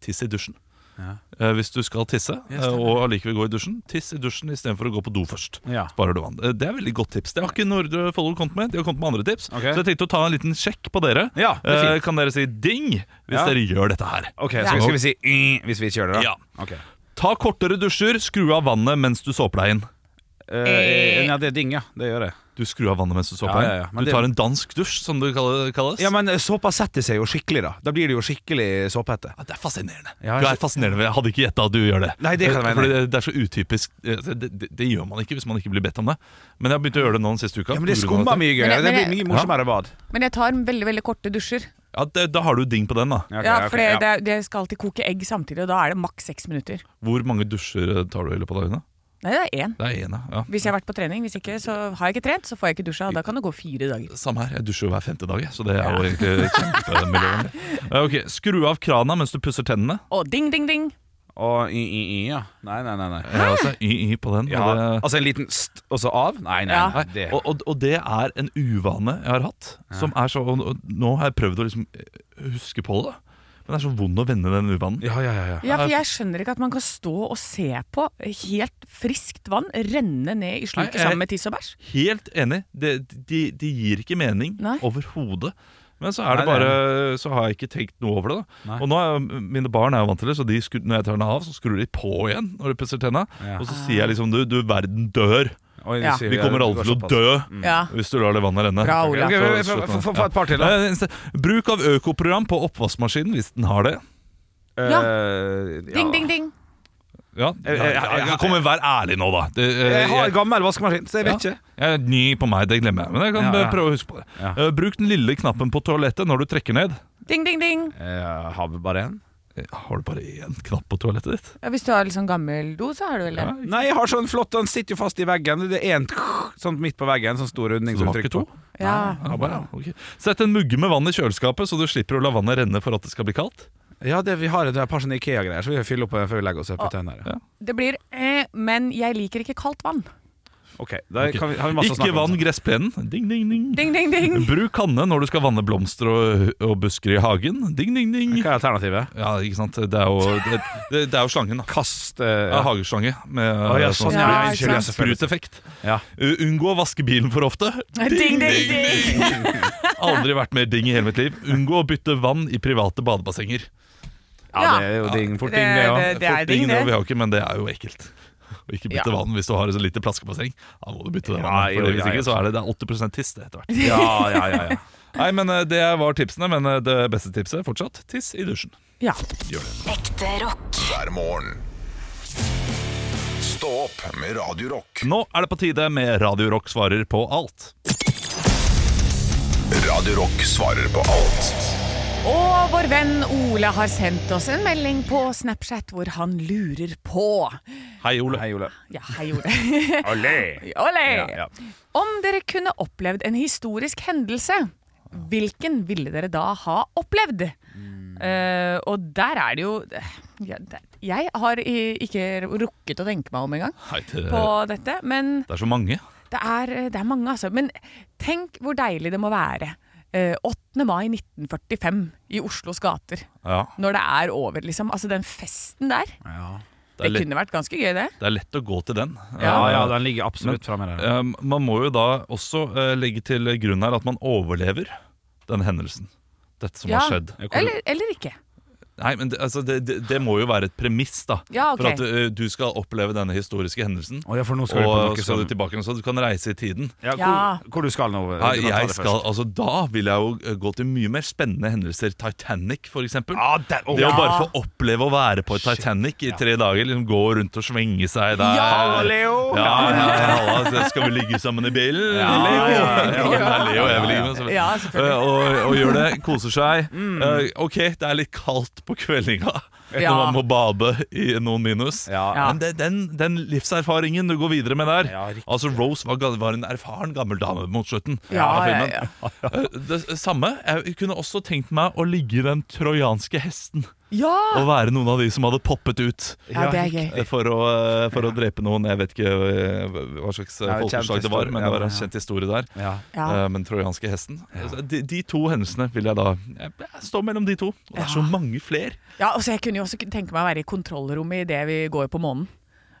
S3: Tiss i dusjen. Eh, Hvis du skal tisse eh, og allikevel gå i dusjen, tiss i dusjen istedenfor å gå på do først.
S2: Ja.
S3: Sparer du vann. Eh, Det er veldig godt tips. Det har ikke Nordre Follo kommet med. De har kommet med andre tips.
S2: Ok.
S3: Så jeg tenkte å ta en liten sjekk på dere.
S2: Ja, det er
S3: Eh,
S2: fint.
S3: kan dere si ding hvis
S2: Ja.
S3: dere gjør dette her.
S2: Ok, så Skal vi si «i» hvis vi ikke gjør det, da?
S3: Ja.
S2: Ok. Eh,
S3: Ta kortere dusjer, skru av vannet mens du såper deg inn.
S2: Eh, ja, det er ding, ja. Det gjør jeg.
S3: Du skrur av vannet mens du
S2: Ja,
S3: såper deg.
S2: ja, ja, men
S3: Du
S2: det-
S3: tar en dansk dusj, som det kalle- kalles.
S2: Ja, men såpa setter seg jo skikkelig, da. Da blir det jo skikkelig såpehette.
S3: Ja, det er fascinerende.
S2: Ja,
S3: du
S2: jeg-
S3: er fascinerende, men Jeg hadde ikke gjetta at du gjør det. Eh,
S2: Nei, det kan jeg mene.
S3: Fordi det, det er så utypisk. Eh, Det, det, det gjør man ikke hvis man ikke blir bedt om det. Men jeg har begynt å gjøre det nå den siste uka.
S2: Ja, men det
S3: På grunn av
S2: skummer
S3: at-
S2: mye gøyere.
S5: Men jeg-
S2: Det
S5: men
S2: blir
S5: jeg-
S2: mye morsommere bad.
S5: Men jeg tar veldig veldig korte dusjer.
S3: Ja, det, Da har du ding på den, da.
S2: ok,
S5: ja,
S2: ok,
S5: for det,
S2: ja.
S5: det, det skal alltid koke egg samtidig, og da er det maks seks minutter.
S3: Hvor mange dusjer eh, tar du i løpet av dagene?
S5: Nei, det er én.
S3: Det er én, ja. ja.
S5: Hvis jeg har vært på trening. Hvis ikke, så har jeg ikke trent, så får jeg ikke dusja. og Da kan det gå fire dager.
S3: Samme her. Jeg dusjer jo hver femte dag, jeg, så det er jo egentlig kjempemiljøvennlig. Eh, Ok, Skru av krana mens du pusser tennene.
S5: Og ding, ding, ding.
S2: Og i, i, i, ja. Nei, nei, nei. nei.
S3: Jeg har også y-y på den. og
S2: Ja,
S3: det-
S2: altså en liten st, og så av? Nei, nei.
S5: Ja.
S2: nei
S3: Nei,
S2: det.
S3: og, og, og det er en uvane jeg har hatt. Som er så, og og nå har jeg prøvd å liksom eh, huske på det, men det er så vond å vende den uvanen.
S2: Ja, ja, ja. ja.
S5: Ja, for jeg skjønner ikke at man kan stå og se på helt friskt vann renne ned i sluket
S3: Nei, jeg-
S5: sammen med tiss og bæsj.
S3: Helt enig. Det de, de gir ikke mening
S5: Nei.
S3: overhodet. Men så er det
S2: Nei, det er
S3: bare Så har jeg ikke tenkt noe over det. da
S2: Nei.
S3: Og nå er jo- Mine barn er jo vant til det, så de skru, når jeg tar den av, så skrur de på igjen når de pusser tenna.
S2: Ja.
S3: Og så sier jeg liksom Du, du verden dør.
S2: Oi,
S5: Ja.
S2: sier
S3: Vi kommer
S2: det
S3: alle
S2: går
S3: til å
S2: såpass. Mm.
S3: dø
S5: Mm. Ja.
S3: hvis du lar det vannet renne.
S5: Bra,
S2: Ok,
S5: Ola.
S2: ok, ok, Få få- få- få et par til, da.
S3: Nei, det eneste- Eh, Bruk av økoprogram på oppvaskmaskinen hvis den har det.
S5: Ja.
S2: Eh, ja.
S5: Ding, ding, ding.
S3: Ja,
S2: Jeg- jeg- jeg-
S3: Kom igjen, vær ærlig nå, da. Det, eh,
S2: Eh, Jeg har
S3: jeg-
S2: gammel vaskemaskin, så jeg vet
S3: ja,
S2: ikke.
S3: jeg er ny på meg, det glemmer jeg. Men jeg
S2: Ja,
S3: kan
S2: ja.
S3: eh, prøve å huske på det.
S2: Ja.
S3: Eh, bruk den lille knappen på toalettet når du trekker ned.
S5: Ding, ding, ding.
S2: Jeg har bare én.
S3: Eh, Har du bare én knapp på toalettet ditt?
S5: Ja, hvis du har litt sånn gammel do, så har du vel det.
S2: Nei, jeg har sånn flott, den sitter jo fast i veggen. Det er en sånn midt på veggen, sånn stor runding.
S3: Så du
S2: som
S3: har ikke
S2: trykker på.
S3: to?
S5: Ja.
S3: Ja, bare, ja, ok. Sett en mugge med vann i kjøleskapet, så du slipper å la vannet renne for at det skal bli kaldt.
S2: Ja, det, vi har et par sånne Ikea-greier, så vi fyller opp eh, før vi legger oss opp i tønna.
S3: Ja.
S5: Det blir eh, Men jeg liker ikke kaldt vann.
S2: Ok, da
S3: Ok.
S2: kan vi, har vi masse å
S3: Ikke
S2: snakke om. altså.
S3: vann gressplenen. Ding, ding, ding.
S5: Ding, ding, ding.
S3: Bruk kanne når du skal vanne blomster og, og busker i hagen. Ding, ding, ding.
S2: Hva er alternativet?
S3: Ja, ikke sant. Det er jo, det, det, det er jo slangen, da.
S2: Kast eh,
S3: Ja, hageslange med eh,
S2: Å, ja, sånn, ja,
S5: Ja,
S2: unnskyld,
S5: ikke
S2: ja,
S5: sant.
S2: selvfølgelig.
S3: spruteffekt.
S2: Ja.
S3: U- Unngå å vaske bilen for ofte.
S5: Ding, ding, ding.
S3: Aldri vært mer ding i hele mitt liv. Unngå å bytte vann i private badebassenger.
S2: ja, det er jo ding fort
S5: Det-
S2: ding, det òg.
S5: det- det er
S3: Fort
S5: ding,
S3: nå,
S5: det.
S3: Vi har jo ikke, men det er jo ekkelt. Å ikke bytte
S5: Ja.
S3: vann hvis du har et så lite plaskebasseng. Da må du bytte det
S2: Ja,
S3: vannet.
S2: jo,
S3: For hvis
S2: ja, ja.
S3: ikke så er det, det er 80 tiss det etter hvert.
S2: Ja, ja, ja, ja.
S3: Nei, men eh, Det var tipsene, men eh, det beste tipset fortsatt tiss i dusjen.
S5: Ja.
S4: Ekte rock.
S1: hver morgen. Stå opp med Radio Rock.
S3: Nå er det på tide med Radio Rock svarer på alt.
S1: Radio Rock svarer på alt.
S5: Og vår venn Ole har sendt oss en melding på Snapchat hvor han lurer på
S3: Hei, Ole.
S2: Hei, Ole.
S5: Ja, hei, Ole. Ole!
S2: Ja, ja.
S5: Om dere kunne opplevd en historisk hendelse, hvilken ville dere da ha opplevd? Eh, og der er det jo ja, det- Jeg har i, ikke rukket å tenke meg om engang
S3: Hei til,
S5: på dette, men
S3: det er så mange.
S5: Det er, det er mange, altså. Men tenk hvor deilig det må være. eh, 8. mai 1945 i Oslos gater.
S3: Ja,
S5: Når det er over, liksom. Altså den festen der.
S3: det,
S5: Det,
S3: er lett,
S5: kunne vært ganske gøy, det.
S3: det er lett å gå til den.
S2: Ja,
S3: Eh,
S2: ja, den ligger absolutt framme der.
S3: eh, Man må jo da også eh, legge til grunn her at man overlever den hendelsen. Dette som
S5: Ja.
S3: har skjedd.
S5: Eller, eller ikke.
S3: Nei, men det, altså, det, det, det må jo være et premiss, da.
S5: Ja, ok.
S3: For at eh, du skal oppleve denne historiske hendelsen.
S2: Å, ja, for nå skal vi på
S3: Og
S2: noe
S3: skal du
S2: som-
S3: tilbake, så du kan reise i tiden.
S2: Ja,
S5: Ja.
S2: hvor, hvor du skal nå? Du
S3: Ja,
S2: kan ta
S3: jeg
S2: det
S3: skal,
S2: først.
S3: altså, da vil jeg jo eh, gå til mye mer spennende hendelser. Titanic, for eksempel.
S2: Ja, der, å,
S3: Det
S2: ja.
S3: å bare få oppleve å være på et Titanic i tre dager, liksom gå rundt og svinge seg der.
S2: Hallo,
S5: Ja,
S2: Leo!
S3: Ja, ja, ja, halla, så skal vi ligge sammen i bilen?
S2: Ja,
S3: Leo!
S2: ja, ja, ja.
S3: Ja, Leo jeg vil ligge med.
S5: Ja,
S3: selvfølgelig. Eh, Og, og gjør det, koser seg. Eh, ok, det er litt kaldt på kveldinga når
S5: Ja.
S3: man må bade i noen minus.
S2: Ja.
S5: Ja.
S3: Men det, den, den livserfaringen du går videre med der
S2: Ja, riktig.
S3: Altså Rose var, ga- var en erfaren gammel dame mot slutten
S5: Ja,
S3: av
S5: ja,
S3: filmen. Eh, Det samme. Jeg kunne også tenkt meg å ligge i den trojanske hesten
S5: Ja!
S3: og være noen av de som hadde poppet ut
S5: Ja, det er gøy.
S3: eh, for å, eh, for å drepe noen. Jeg vet ikke eh, hva slags eh,
S2: Ja, kjent
S3: folkeslag det var,
S2: historie.
S3: men
S2: Ja,
S3: det var en
S2: ja.
S3: kjent historie der.
S2: Ja.
S5: Ja.
S3: Eh, Men trojanske hesten. Altså, De, de to hendelsene vil jeg da Jeg jeg står mellom de to. Og det er så mange flere.
S5: ja altså, jeg kunne jo også tenke meg å være i kontrollrommet idet vi går på månen.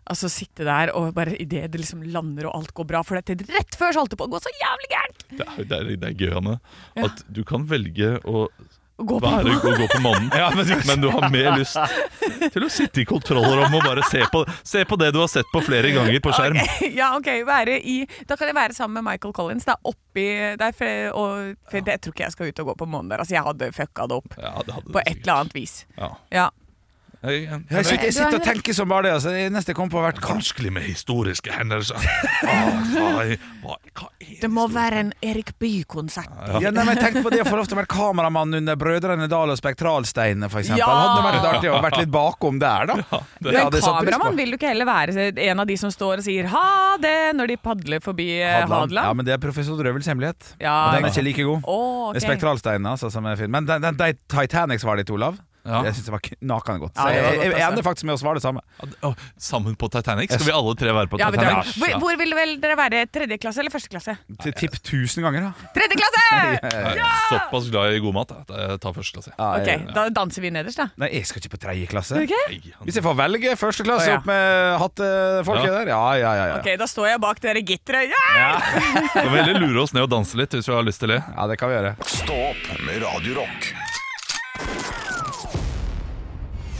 S5: Altså sitte der og bare idet det liksom lander og alt går bra. For det er rett før så holdt det på å gå så jævlig gærent!
S3: Det er, det er, det er gøy, Anne, at du kan velge å
S5: Gå på
S3: Være å gå på månen, men, du har mer lyst til å sitte i kontrollrommet og bare se på, se på det du har sett på flere ganger på skjerm.
S5: Ja, ok, være i Da kan jeg være sammen med Michael Collins da, oppi der for, og, for Jeg tror ikke jeg skal ut og gå på månen der Altså, jeg hadde fucka det opp
S3: Ja, det hadde du
S5: På et
S3: sikkert.
S5: eller annet vis
S3: Ja.
S5: Ja,
S3: Jeg, jeg,
S2: Jeg sitter, jeg
S5: Du er
S2: sitter og
S5: helt-
S2: tenker som bare det. Altså. Det neste jeg kom på, har vært kanskje
S3: Vanskelig med historiske hendelser. Ah, hva, hva, hva er
S5: Det må være en Erik Bye-konsert
S2: ja, nei, men Tenk på det å få lov til å være kameramann under Brødrene Dal og Spektralsteinene, f.eks.
S5: Ja!
S2: Hadde det vært litt artig å vært litt bakom der, da. Det
S5: Men
S2: hadde jeg satt pris på.
S5: kameramann vil du ikke heller være En av de som står og sier Ha det når de padler forbi eh,
S2: Hadeland.
S5: Hadeland
S2: Ja, men det er professor Drøvels hemmelighet.
S5: Ja.
S2: Og den er ikke like god.
S5: Å, ok.
S2: Det er Spektralsteinen, altså, som er fin. Men den, den, de Titanics var litt, Olav.
S3: Ja.
S2: Det syns jeg var knakende godt.
S5: Ja,
S2: Så
S5: det var
S2: jeg,
S5: godt,
S2: jeg, jeg
S5: altså.
S2: ender faktisk med å svare det samme.
S3: Åh, Sammen på Titanic? Skal vi alle tre være på
S5: ja, vet du,
S3: Titanic?
S5: hvor, hvor vil vel dere være? Tredje klasse eller første klasse?
S2: Til Tipp tusen ganger, da.
S5: Tredje klasse!
S3: Jeg er såpass glad i god mat at jeg tar altså. første klasse.
S2: Ja,
S5: Ok,
S2: jeg-
S5: da danser vi nederst da
S2: Nei, jeg skal ikke på tredje klasse.
S5: Ok,
S3: Nei, han-
S2: Hvis jeg får velge første klasse
S5: Å, ja.
S2: opp med hattefolket
S3: Ja.
S2: der, ja, ja, ja. ja.
S5: Ok, da står jeg bak dere gitteret ja!
S3: Kan vi heller lure oss ned og danse litt hvis vi har lyst til det.
S2: Ja, det kan vi gjøre.
S1: Stå opp med Radio Rock.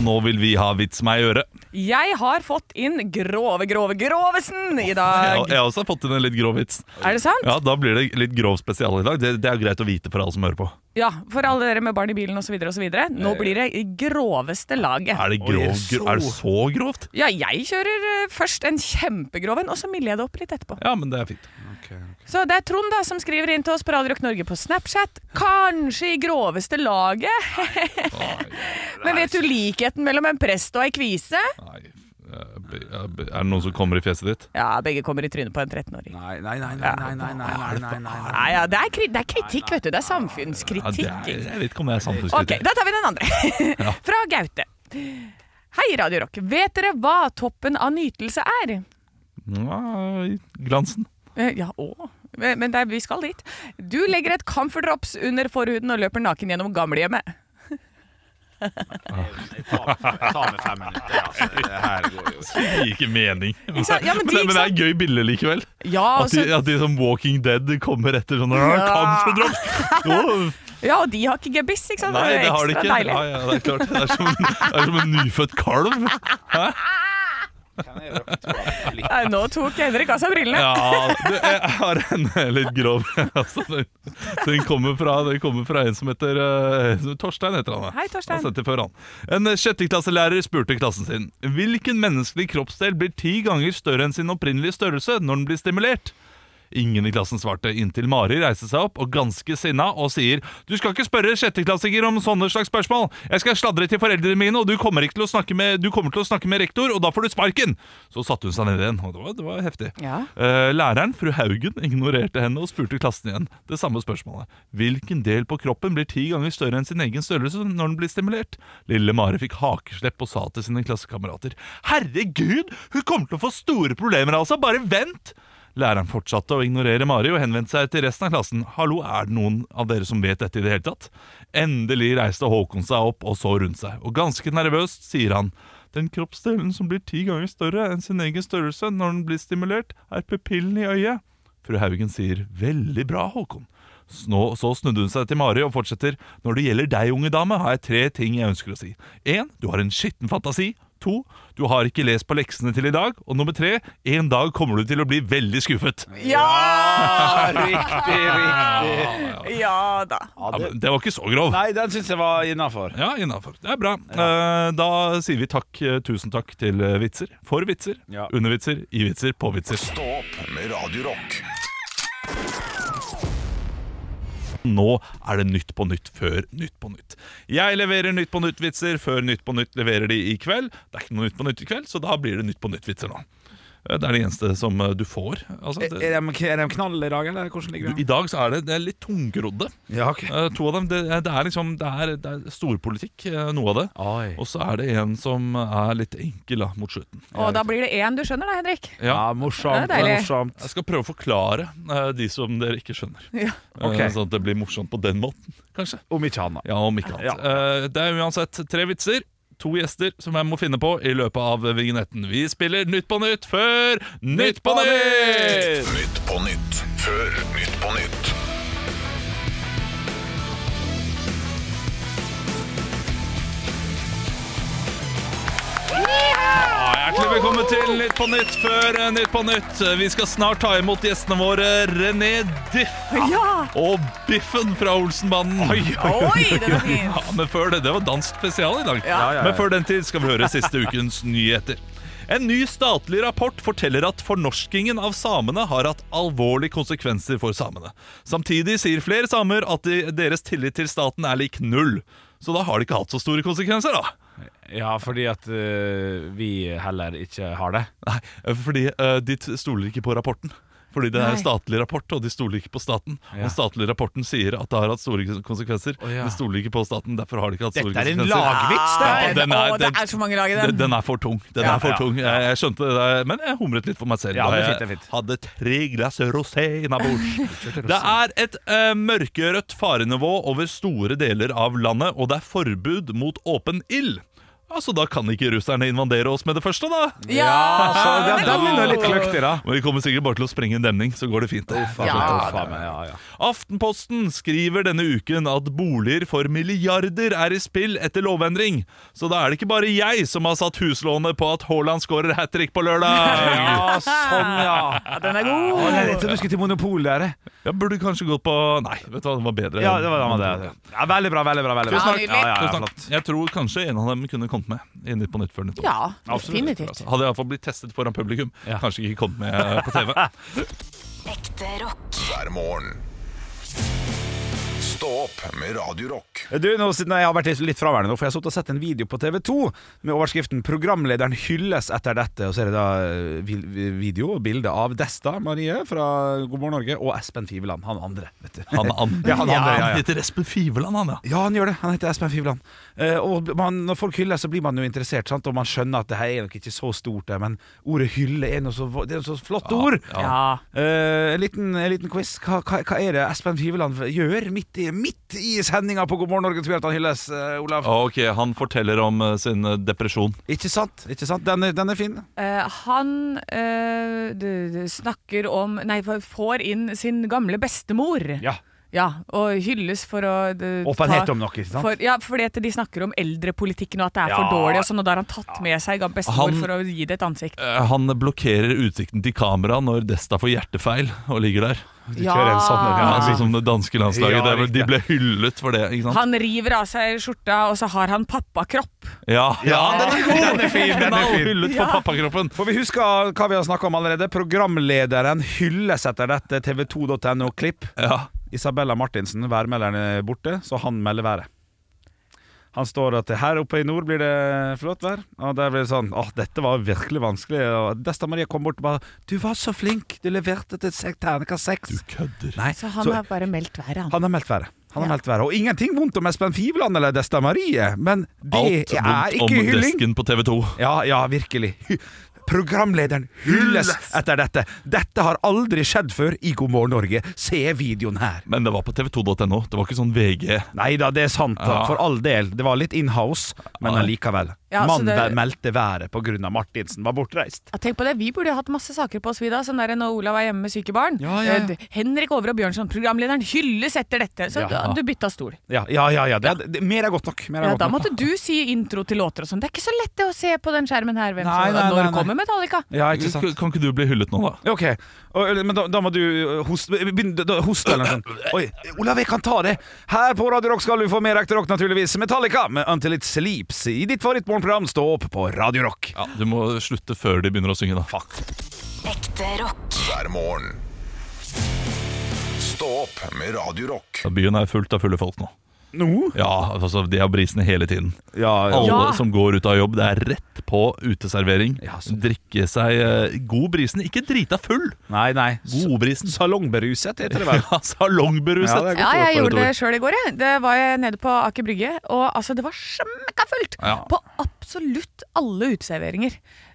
S3: Nå vil vi ha vits meg i øret.
S5: Jeg har fått inn grove, grove, grovesen i dag.
S3: Jeg, jeg har også fått inn en litt grov vits.
S5: Er det sant?
S3: Ja, Da blir det litt grov spesial i dag. Det, det er greit å vite for alle som hører på.
S5: Ja, for alle dere med barn i bilen osv. Nå blir det i groveste laget.
S3: Eh. Er det,
S2: Oi,
S3: grov,
S2: så-
S3: gro- er det så grovt?
S5: Ja, jeg kjører eh, først en kjempegrov en, og så miller jeg det opp litt etterpå.
S3: Ja, men det er fint.
S5: Så det er Trond da som skriver inn til oss på Radio Rock Norge på Snapchat. Kanskje i groveste laget, men vet du likheten mellom en prest og ei kvise?
S3: Nei, eh, be- eh, be- Er det noen som kommer i fjeset ditt?
S5: Ja, begge kommer i trynet på en 13-åring.
S2: Nei, nei, nei, nei, nei, nei, nei, nei, nei, nei.
S5: Ja, ja, det er, kri det er kritikk, vet du.
S3: Ja,
S5: Det er
S3: det er,
S5: samfunnskritikk.
S3: jeg vet ikke om det er
S5: Ok,
S3: samfunnskritikk.
S5: da tar vi den andre. Fra Gaute. Hei, Radio Rock. Vet dere hva toppen av nytelse er?
S3: Nei, Glansen.
S5: Eh, Ja, å. Men men det er, vi skal dit. Du legger et comfort drops under forhuden og løper naken gjennom gamlehjemmet.
S2: Ta med fem minutter, altså. Det her går jo
S3: Det gir ikke mening. Men,
S5: sant? Ja, men de-
S3: det- men det er et gøy bilde likevel.
S5: Ja, og
S3: At de,
S5: så-
S3: at de som Walking Dead kommer etter sånn Kamferdropp!
S5: ja, og de har ikke gebiss, ikke sant?
S3: Nei, det har de
S5: ekstra
S3: ikke.
S5: deilig.
S3: Ja, ja, det er klart. Det er som, det er som en nyfødt kalv.
S5: Nei, Nå tok Henrik av seg brillene.
S3: Ja, du, jeg har en litt grov altså, den, den, kommer fra, den kommer fra en som heter eh, som- Torstein heter han da.
S5: Hei, Torstein.
S3: Han setter før han En eh, sjetteklasselærer spurte klassen sin Hvilken menneskelig kroppsdel blir ti ganger større enn sin opprinnelige størrelse når den blir stimulert? Ingen i klassen svarte inntil Mari reiser seg opp og ganske sinna og sier Du skal ikke spørre sjetteklassinger om sånne slags spørsmål. Jeg skal sladre til foreldrene mine, og du kommer, ikke til å snakke med, du kommer til å snakke med rektor, og da får du sparken! Så satte hun seg ned igjen, og det var, det var heftig.
S5: Ja.
S3: Eh, læreren, fru Haugen, ignorerte henne og spurte klassen igjen det samme spørsmålet. Hvilken del på kroppen blir ti ganger større enn sin egen størrelse når den blir stimulert? Lille Mari fikk hakeslepp og sa til sine klassekamerater Herregud, hun kommer til å få store problemer altså, bare vent! Læreren fortsatte å ignorere Mari og henvendte seg til resten av klassen. Hallo, er det noen av dere som vet dette i det hele tatt? Endelig reiste Håkon seg opp og så rundt seg, og ganske nervøst sier han den kroppsdelen som blir ti ganger større enn sin egen størrelse når den blir stimulert, er pupillen i øyet. Fru Haugen sier 'veldig bra, Håkon'. Snå, så snudde hun seg til Mari og fortsetter 'Når det gjelder deg, unge dame, har jeg tre ting jeg ønsker å si'. 1. Du har en skitten fantasi. 2. Du har ikke lest på leksene til i dag. Og nummer 3. En dag kommer du til å bli veldig skuffet.
S5: Ja!
S2: Riktig, riktig.
S5: Ja da.
S3: Ja, men det var ikke så grov.
S2: Nei, den syns jeg var innafor.
S3: Ja, innafor. Det er bra. Eh, Da sier vi takk, eh, tusen takk til eh, vitser. For vitser,
S2: Ja.
S3: under vitser, i vitser, på vitser.
S1: Stå opp med Radio Rock.
S3: Nå er det Nytt på Nytt før Nytt på Nytt. Jeg leverer Nytt på Nytt-vitser før Nytt på Nytt leverer de i kveld. Det er ikke noe Nytt på Nytt i kveld, så da blir det Nytt på Nytt-vitser nå. Eh, Det er det eneste som eh, du får. Altså,
S2: Er
S3: det,
S2: de, er de knall i dag, eller hvordan ligger
S3: I
S2: det?
S3: dag så er det, det er litt tungrodde.
S2: Ja, ok.
S3: Eh, To av dem, det, det er liksom Det er, det er storpolitikk, eh, noe av det.
S2: Oi.
S3: Og så er det en som er litt enkel da, mot slutten.
S5: Og da blir det én du skjønner da, Henrik.
S2: Ja, morsomt.
S5: Det er deilig.
S2: morsomt.
S3: Jeg skal prøve å forklare eh, de som dere ikke skjønner.
S5: Ja.
S3: Eh,
S2: Ok.
S3: Sånn at det blir morsomt på den måten, kanskje.
S2: Om ikke annet.
S3: Ja, om ikke annet. Eh, det er uansett tre vitser, to gjester, som jeg må finne på i løpet av vignetten. Vi spiller Nytt på nytt før Nytt på nytt!
S1: Nytt på nytt før Nytt på nytt.
S3: Hjertelig velkommen til Nytt på Nytt før eh, Nytt på Nytt. Vi skal snart ta imot gjestene våre René Diff
S5: Ja!
S3: og Biffen fra Olsenbanden.
S5: Oi, den er fin.
S3: Ja, men før det, det var dansk spesial i dag.
S2: Ja, ja, ja.
S3: Men før den tid skal vi høre siste ukens nyheter. En ny statlig rapport forteller at fornorskingen av samene har hatt alvorlige konsekvenser for samene. Samtidig sier flere samer at de, deres tillit til staten er lik null. Så da har det ikke hatt så store konsekvenser, da.
S2: Ja, fordi at eh, vi heller ikke har det.
S3: Nei, fordi eh, de t- stoler ikke på rapporten. Fordi det er
S5: Nei.
S3: en statlig rapport, og de stoler ikke på staten. Og
S2: Ja.
S3: Den statlige rapporten sier at det har hatt store konsekvenser.
S2: Å, ja.
S3: De stoler ikke på staten, derfor har de ikke hatt store
S2: Dette er en
S3: konsekvenser.
S2: lagvits, det
S3: Ja,
S5: Å,
S3: den er,
S5: det
S3: den,
S5: er så mange lag i
S3: den,
S5: den.
S3: den er for tung. Den
S2: Ja,
S3: er for
S2: ja,
S3: tung. Jeg, jeg skjønte det, der, men jeg humret litt for meg selv.
S2: Ja,
S3: da
S2: det er
S3: jeg
S2: fint, det er fint.
S3: hadde tre glass rosé innabords. det er et eh, mørkerødt farenivå over store deler av landet, og det er forbud mot åpen ild. Altså, Da kan ikke russerne invadere oss med det første, da.
S5: Ja,
S2: Så den,
S5: den Ah, er
S2: den er litt
S5: god.
S2: kløktig, da.
S3: Men vi kommer sikkert bare til å sprenge en demning, så går det fint.
S2: Ja, faen meg, ja, ja.
S3: Aftenposten skriver denne uken at boliger for milliarder er i spill etter lovendring. Så da er det ikke bare jeg som har satt huslånet på at Haaland skårer hat trick på lørdag.
S2: Ja, sånn, ja.
S5: Ja, den er god.
S2: Å, nei, jeg trodde du skulle til Monopol der. jeg.
S3: Jeg burde kanskje gått på Nei, vet du hva, det var bedre.
S2: Ja, det var det. var det. Ja, veldig bra, veldig bra. veldig bra
S5: Tusen takk.
S2: Ja, ja,
S3: Tusen
S2: ja,
S3: takk.
S2: flott.
S3: Jeg tror kanskje en av dem kunne kommet med i Nytt på Nytt før nyttår.
S5: Ja, definitivt.
S3: Altså, Hadde jeg iallfall blitt testet foran publikum.
S2: Ja.
S3: Kanskje ikke kommet med eh, på TV.
S4: Ekte rock.
S1: hver morgen. Stå opp med Radio Rock.
S2: Du, nå, siden Jeg har vært litt- litt fraværende nå, for jeg har sittet og sett en video på TV 2 med overskriften 'Programlederen hylles etter dette'. Og så er det da eh, vi- vi- video og bilde av Desta Marie fra God morgen Norge og Espen Fiveland, han andre. vet du
S3: Han andre.
S2: Ja, han andre, ja, ja.
S3: Han heter Espen Fiveland, han, ja.
S2: Ja, han gjør det. Han heter Espen Fivland. Eh, og man, når folk hyller, så blir man jo interessert, sant? og man skjønner at det her er nok ikke så stort, det, men ordet 'hylle' er noe så, det er noe så flott ord.
S5: Ja.
S2: Eh, en, liten, en liten quiz. Hva, hva, hva er det Espen Fiveland gjør midt i, midt i sendinga på God morgen Norge som gjør at han hylles, eh, Olav?
S3: Ok, han forteller om eh, sin eh, depresjon.
S2: Ikke sant? ikke sant? Den er, den er fin.
S5: Eh, han eh, du, du, snakker om Nei, får inn sin gamle bestemor.
S2: Ja.
S5: Ja, og hylles for å du,
S2: Åpenhet om noe, ikke sant?
S5: For, ja, fordi at de snakker om eldrepolitikken og at det er for
S2: Ja.
S5: dårlig. Og sånn, og da har han tatt med seg gam- bestemor
S3: Han-
S5: for å gi det et ansikt.
S3: Eh, Han blokkerer utsikten til kamera når Desta får hjertefeil og ligger der.
S5: Ja.
S2: kjører en sånn, ja.
S3: Ja, sånn som det danske landslaget.
S2: Ja,
S3: det er vel- de
S2: riktig.
S3: ble hyllet for det.
S2: sånn.
S3: ikke sant?
S5: Han river av seg skjorta, og så har han pappakropp.
S3: Ja, ja den er god!
S2: Den er fin, den er
S3: all
S2: fin.
S3: hyllet for pappakroppen.
S2: For vi husker hva vi har snakka om allerede. Programlederen hylles etter dette tv2.no-klipp.
S3: Ja.
S2: Isabella Martinsen, værmelderen er borte, så han melder været. Han står at her oppe i nord blir det flott vær. Og der blir det sånn Åh, dette var virkelig vanskelig. Og Desta Maria kom bort og bare Du var så flink! Du leverte til sek- terningkast seks.
S3: Kødder.
S2: Nei,
S5: Så han har bare meldt været, han.
S2: han har meldt været. Han har
S5: Ja.
S2: meldt været. Og ingenting vondt om Espen Fiveland eller Desta Marie, men det
S3: Alt
S2: er
S3: vondt om
S2: ikke hylling.
S3: desken på TV 2.
S2: Ja, ja, virkelig. Hy- Programlederen hylles etter dette. Dette har aldri skjedd før i God morgen Norge. Se videoen her.
S3: Men det var på tv2.no. Det var ikke sånn VG.
S2: Nei da, det er sant. da.
S3: Ja.
S2: For all del. Det var litt inhouse, men
S3: Ja.
S2: allikevel.
S5: Ja, så
S2: Mannen
S5: det-
S2: ve- meldte været pga. Martinsen var bortreist.
S5: Ja, tenk på det, Vi burde jo hatt masse saker på oss, vi da. Sånn der når Olav er hjemme med syke barn.
S2: Ja, ja, ja.
S5: Eh, Henrik Over og Bjørnson, programlederen, hylles etter dette.
S2: Ja.
S5: Så da- du bytta stol.
S2: Ja, ja, ja. ja. Det, det, mer er godt nok. Mer er
S5: Ja,
S2: godt
S5: da
S2: nok.
S5: måtte du si intro til låter og sånn. Det er ikke så lett det å se på den skjermen her. Hvem
S2: Nei,
S5: som,
S2: nei,
S5: når
S2: nei, nei.
S5: kommer Metallica?
S2: Ja, ikke sant.
S3: Kan ikke du bli hyllet nå, da?
S2: Ok, og, men da, da må du øh, hoste, begynn, da, hoste eller noe sånt. Oi, Olav, jeg kan ta det. Her på Radio Rock skal du få mer ekte rock, naturligvis. Metallica med Until It Sleeps i ditt favorittmorgenprogram Stå opp på Radio Rock.
S3: Ja, Du må slutte før de begynner å synge, da. Fuck.
S4: Ekte rock.
S1: hver morgen. Stå opp med Radio Rock.
S3: Byen er fullt av fulle folk nå.
S2: Nå?
S3: Ja, altså, De har brisene hele tiden.
S2: Ja,
S3: Eh, Alle
S5: Ja.
S3: som går ut av jobb, det er rett på uteservering.
S2: Ja, så-
S3: Drikke seg eh, god brisen. Ikke drita full,
S2: Nei, nei.
S3: god brisen.
S2: Salongberuset heter det vel.
S3: Ja, Salongberuset.
S2: Ja, det er
S5: Ja, jeg
S3: For et
S5: gjorde det
S3: ord.
S5: sjøl i går, jeg. Det var jeg nede på Aker Brygge, og altså, det var smekka fullt
S3: Ja.
S5: på absolutt alle uteserveringer.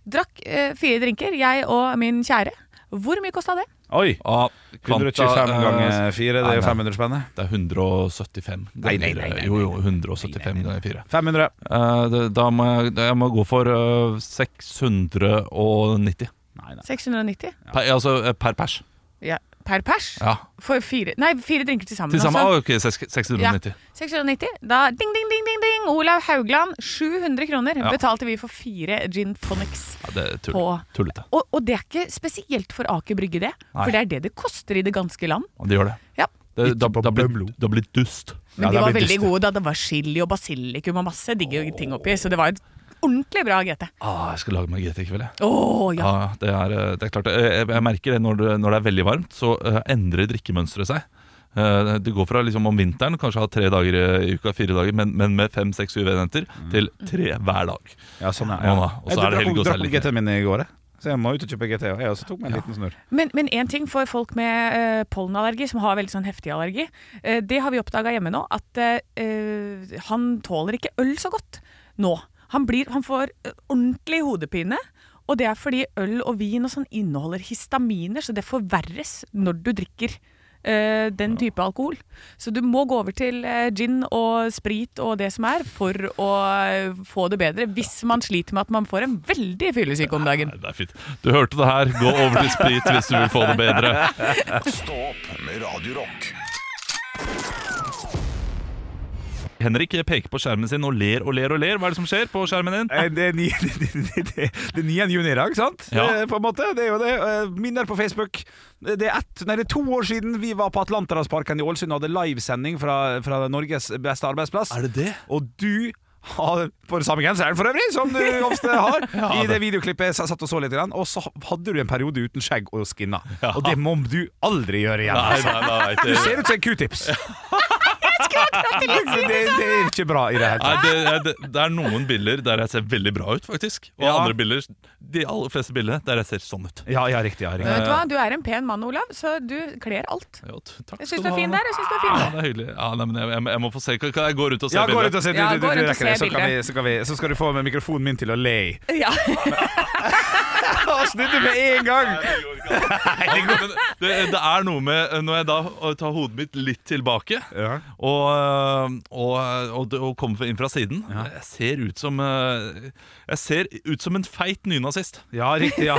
S5: Drakk eh, fire drinker, jeg og min kjære. Hvor mye kosta det?
S2: Oi.
S3: Ja, kvanta,
S2: 125
S3: eh,
S2: ganger 4, det
S3: nei,
S2: er
S3: nei.
S2: jo 500 spennet.
S3: Det er 175
S2: Nei, nei, nei, nei, nei.
S3: Jo, jo, 175 ganger 4.
S2: 500.
S3: da må jeg, da- jeg må gå for eh, 690.
S2: Nei, nei.
S5: 690?
S3: Per, altså eh, per pers.
S5: Ja, per pers
S3: Ja.
S5: for fire, nei, fire drinker til sammen.
S3: Til sammen
S5: altså.
S3: ah, ok, seks- 690.
S5: Ja, 690. Da ding, ding, ding, ding, ding. Olav Haugland, 700 kroner
S3: Ja.
S5: betalte vi for fire gin tonics.
S3: Ja, det er tull,
S5: På-
S3: tullete.
S5: Og, og det er ikke spesielt for Aker Brygge, det. For det er det det koster i det ganske land.
S3: Ja, Det gjør det.
S5: Ja.
S3: det da, da, blir, da blir dust.
S5: Men
S3: Ja,
S5: de
S3: da
S5: var
S3: blir
S5: veldig
S3: dust.
S5: gode da. Det var chili og basilikum og masse digge ting oppi. Så det var et ordentlig bra GT.
S3: Ah, jeg skal lage meg GT i kveld, jeg.
S5: Å ja.
S3: Ja, det er, eh, det er klart. Eh, Jeg, jeg merker det når, det når det er veldig varmt, så eh, endrer drikkemønsteret seg. Eh, Det går fra liksom om vinteren, kanskje ha tre dager i uka, fire dager, men, men med fem-seks uvenenter,
S5: Mm.
S3: til tre hver dag.
S2: Ja, sånn er,
S3: Ja,
S2: ja.
S3: da. Og så er det
S2: jeg
S3: helg
S2: drakk- drakk
S3: og så er det
S2: opp
S3: litt-
S2: GT-en min i går, jeg. så jeg må ut og kjøpe GT. og Jeg også tok meg en liten snurr.
S5: Men men én ting for folk med eh, pollenallergi, som har veldig sånn heftig allergi. eh, det har vi oppdaga hjemme nå, at eh, han tåler ikke øl så godt nå. Han, blir, han får eh, ordentlig hodepine. Og det er fordi øl og vin og sånn inneholder histaminer, så det forverres når du drikker eh, den type alkohol. Så du må gå over til eh, gin og sprit og det som er, for å eh, få det bedre. Hvis man sliter med at man får en veldig fyllesyke om dagen.
S3: Nei, Det er fint. Du hørte det her. Gå over til sprit hvis du vil få det bedre.
S1: Stå opp med Radio Rock.
S3: Henrik peker på skjermen sin og ler og ler og ler. Hva er det som skjer på skjermen din?
S2: Eh, Det er ni- det- det- det er 9. juni i dag, sant?
S3: Ja.
S2: Eh, På en måte, det er jo det. Eh, Minner på Facebook. eh, Det er, ett, nei, det er to år siden vi var på Atlanterhavsparken i Ålesund og hadde livesending fra, fra Norges beste arbeidsplass.
S3: Er det det?
S2: Og du har på den samme genseren for øvrig, som du ofte har. I det videoklippet jeg satt og så litt, grann, og så hadde du en periode uten skjegg og skinna. Og det må du aldri gjøre igjen.
S3: Nei,
S2: altså.
S3: nei, nei,
S2: Du
S3: det,
S2: ser ut som en q-tips. Altså, det, det er ikke bra i det hele
S3: nei
S2: tatt.
S3: det, det, det er noen bilder der jeg ser veldig bra ut, faktisk. Og
S2: Ja.
S3: andre bilder, de aller fleste bildene, der jeg ser sånn ut.
S2: Ja, ja, riktig. Ja, riktig.
S5: Vet du hva, du er en pen mann, Olav, så du kler alt.
S3: Jo, t- takk
S5: Jeg
S3: skal
S5: syns du er
S3: ha.
S5: fin der. jeg synes du er fin
S3: Ja,
S5: der
S3: det er hyggelig. Ja, nei, men jeg, jeg, jeg må få se. Kan, kan jeg gå rundt og se
S2: Ja, gå
S3: bildet?
S2: ut og se. Du, du,
S5: Ja,
S2: du,
S5: gå
S2: du
S5: rundt og
S2: rekker det,
S5: se
S2: så, kan
S5: bildet.
S2: vi, så, kan vi, så skal du få med mikrofonen min til å le.
S5: Ja.
S2: Og snudde med en gang!
S3: Ja, men det, det er noe med eh, når jeg da eh, tar hodet mitt litt tilbake
S2: Ja.
S3: og, eh, og, og, det- og kommer inn fra siden Jeg ser ut som eh, Jeg ser ut som en feit nynazist.
S2: Ja, riktig, ja.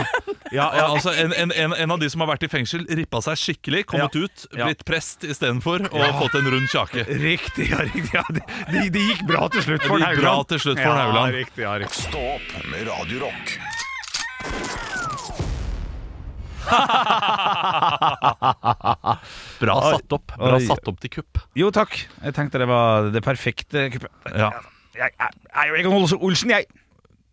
S2: ja, ja.
S3: Altså, en, en, en, en av de som har vært i fengsel, rippa seg skikkelig, kommet
S2: Ja.
S3: ut,
S2: Ja.
S3: blitt prest istedenfor og fått en rund kjake.
S2: Riktig, ja, riktig. Ja. Det, det, det gikk bra til slutt for
S3: Det gikk bra
S2: Haugland.
S3: til slutt for Haugland.
S2: Ja, riktig, ja, riktig.
S1: Stå opp med Radio Rock.
S3: Bra
S2: Oi.
S3: satt opp. Bra
S2: Oi.
S3: satt opp til kupp.
S2: Jo takk. Jeg tenkte det var det perfekte kuppet.
S3: Ja.
S2: Jeg jeg- jeg er Egon Olsen, Olsen, jeg.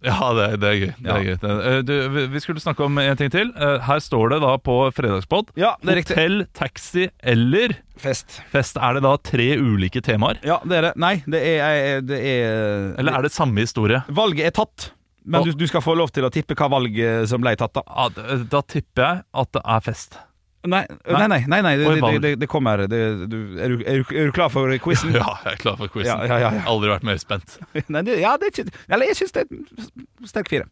S3: Ja, det, er- det er gøy. Det
S2: Ja.
S3: er gøy. Det, eh, du, vi- vi skulle snakke om en ting til. Eh, Her står det da på fredagspod
S2: Ja, det er riktig.
S3: Hotell, taxi eller
S2: Fest.
S3: fest. Er det da tre ulike temaer?
S2: Ja, det er det. Nei, det er, jeg- det er
S3: Eller er det samme historie?
S2: Valget er tatt. Men du, du skal få lov til å tippe hva valget som ble tatt, da.
S3: Ja, d- da tipper jeg at det er fest.
S2: Nei, nei, nei, nei, nei det,
S3: Oi,
S2: det,
S3: valg.
S2: det, det kommer. Det, du, er, du, er, du, er du klar for quizen?
S3: Ja, jeg er klar for quizen.
S2: Ja, ja, ja, ja.
S3: Aldri vært mer spent.
S2: Nei, det, ja, det er ikke Eller jeg syns det er en sterk fire.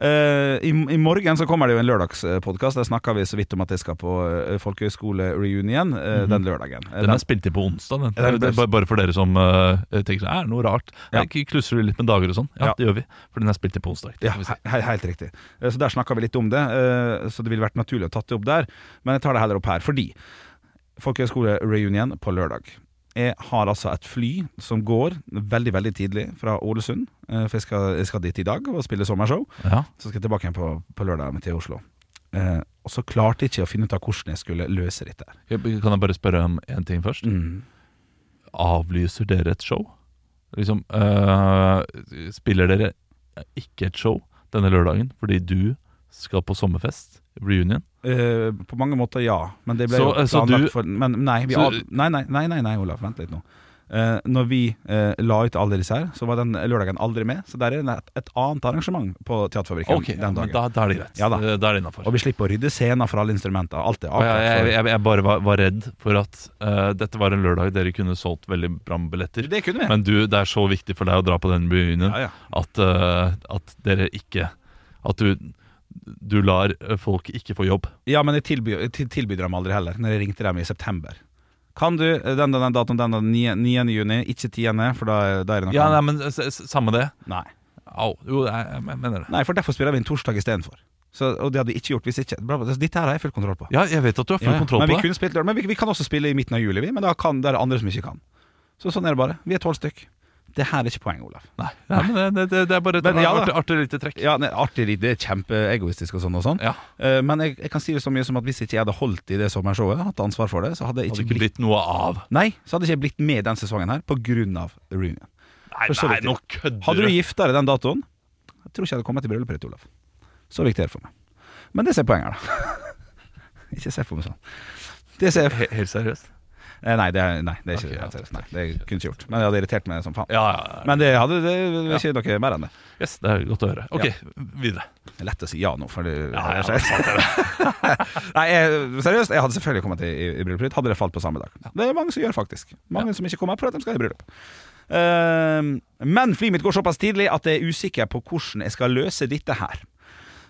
S2: Eh, i, I morgen så kommer det jo en lørdagspodkast. Der snakka vi så vidt om at jeg skal på uh, folkehøyskole-reunion eh, den lørdagen. Eh,
S3: Mhm. Den er spilt inn på onsdag. Den.
S2: Ja, den-
S3: Det er bare- bare for dere som eh, tenker sånn, er det noe rart?
S2: Ja.
S3: Ja. Klusser du litt med dager og sånn? Ja,
S2: Ja.
S3: det gjør vi. For den er spilt inn på onsdag. Det
S2: Ja,
S3: kan vi si.
S2: he helt riktig. Eh, Så Der snakka vi litt om det, eh, så det ville vært naturlig å tatt det opp der. Men jeg tar det heller opp her, fordi folkehøyskole-reunion på lørdag. Jeg har altså et fly som går veldig veldig tidlig fra Ålesund. eh, For jeg skal, jeg skal dit i dag og spille sommershow.
S3: Ja.
S2: Så skal jeg tilbake igjen på, på lørdag til Oslo. Eh, og så klarte jeg ikke å finne ut av hvordan jeg skulle løse dette. her.
S3: Kan jeg bare spørre om én ting først?
S2: Mm.
S3: avlyser dere et show? Liksom, eh, spiller dere ikke et show denne lørdagen fordi du skal på sommerfest? Reunion?
S2: Eh, på mange måter, ja. Men det ble
S3: Så-
S2: jo
S3: så
S2: planlagt
S3: du-
S2: for Men nei, vi
S3: Så-
S2: av, nei, nei, nei, nei, nei, Olav, vent litt nå. Eh, når vi eh, la ut alle disse her, så var den lørdagen aldri med. Så der er det et, et annet arrangement på Teaterfabrikken
S3: Ok, ja,
S2: den
S3: men
S2: dagen.
S3: da, da er det greit.
S2: Ja da.
S3: Eh, da er det innafor.
S2: Og vi slipper å rydde scener for alle instrumenter. Alt er
S3: Jeg,
S2: avklart.
S3: jeg,
S2: for-
S3: jeg, jeg bare var, var redd for at eh, dette var en lørdag dere kunne solgt veldig bra med billetter.
S2: Det kunne vi.
S3: Men du, det er så viktig for deg å dra på den reunionen
S2: Ja, ja.
S3: At, eh, at dere ikke At du, du lar folk ikke få jobb.
S2: Ja, men jeg tilbyr, til- tilbyr dem aldri heller Når jeg ringte dem i september Kan du, eh, den, den, den datoen, den, den 9, 9. juni Ikke 10. for da, da er det noe
S3: Ja, nei,
S2: annet.
S3: men s- s- Samme det.
S2: nei.
S3: Au. Jo, jeg, jeg mener det.
S2: nei, for derfor spiller vi en torsdag i stedet for Så, og det hadde vi ikke gjort hvis ikke. Bra, bra. Dette her har jeg full kontroll på.
S3: Ja, jeg vet at du har full
S2: Ja, ja.
S3: kontroll
S2: men
S3: på
S2: vi
S3: det.
S2: kunne spilt lørdag, men vi, vi kan også spille i midten av juli, vi. Men da kan, det er det andre som ikke kan. Så sånn er det bare. Vi er tolv stykk. Det her er ikke poeng, Olav.
S3: Nei, ja, men det, det, det er bare et
S2: Men ja da.
S3: artig, artig lite trekk.
S2: Ja, nei, Artig ridd, det er kjempeegoistisk og sånn og sånn.
S3: Ja.
S2: Eh, men jeg, jeg kan si det så mye som at hvis ikke jeg hadde holdt i det sommershowet, hatt ansvar for det, så hadde jeg
S3: Hadde
S2: ikke
S3: ikke
S2: blitt
S3: blitt noe av.
S2: Nei, så hadde jeg ikke blitt med den sesongen her på grunn av reunion.
S3: Nei,
S2: For så
S3: nei,
S2: viktig.
S3: nå kødder
S2: Hadde du gifta deg den datoen, jeg tror ikke jeg hadde kommet til bryllupet ditt, Olav. Så viktig er det for meg. Men det ser poenget her, da. ikke se på meg sånn. Det ser
S3: He- Helt seriøst?
S2: Eh, Nei, det er, nei, det er ikke
S3: Ok, ja,
S2: helt seriøst. Nei, det kunne jeg ikke gjort. Men det hadde irritert meg som faen.
S3: Ja, ja, ja.
S2: Men det hadde det var ikke noe mer enn det.
S3: Yes, det er godt å høre. Ok, videre.
S2: Det er lett å si ja nå, for det
S3: Ja, altså. ja,
S2: Nei, jeg, seriøst, jeg hadde selvfølgelig kommet i, i, i bryllupet ditt, hadde det falt på samme dag. Det er mange som gjør, faktisk. Mange som ikke kommer fordi de skal i bryllup. Ehm, men flyet mitt går såpass tidlig at jeg er usikker på hvordan jeg skal løse dette her.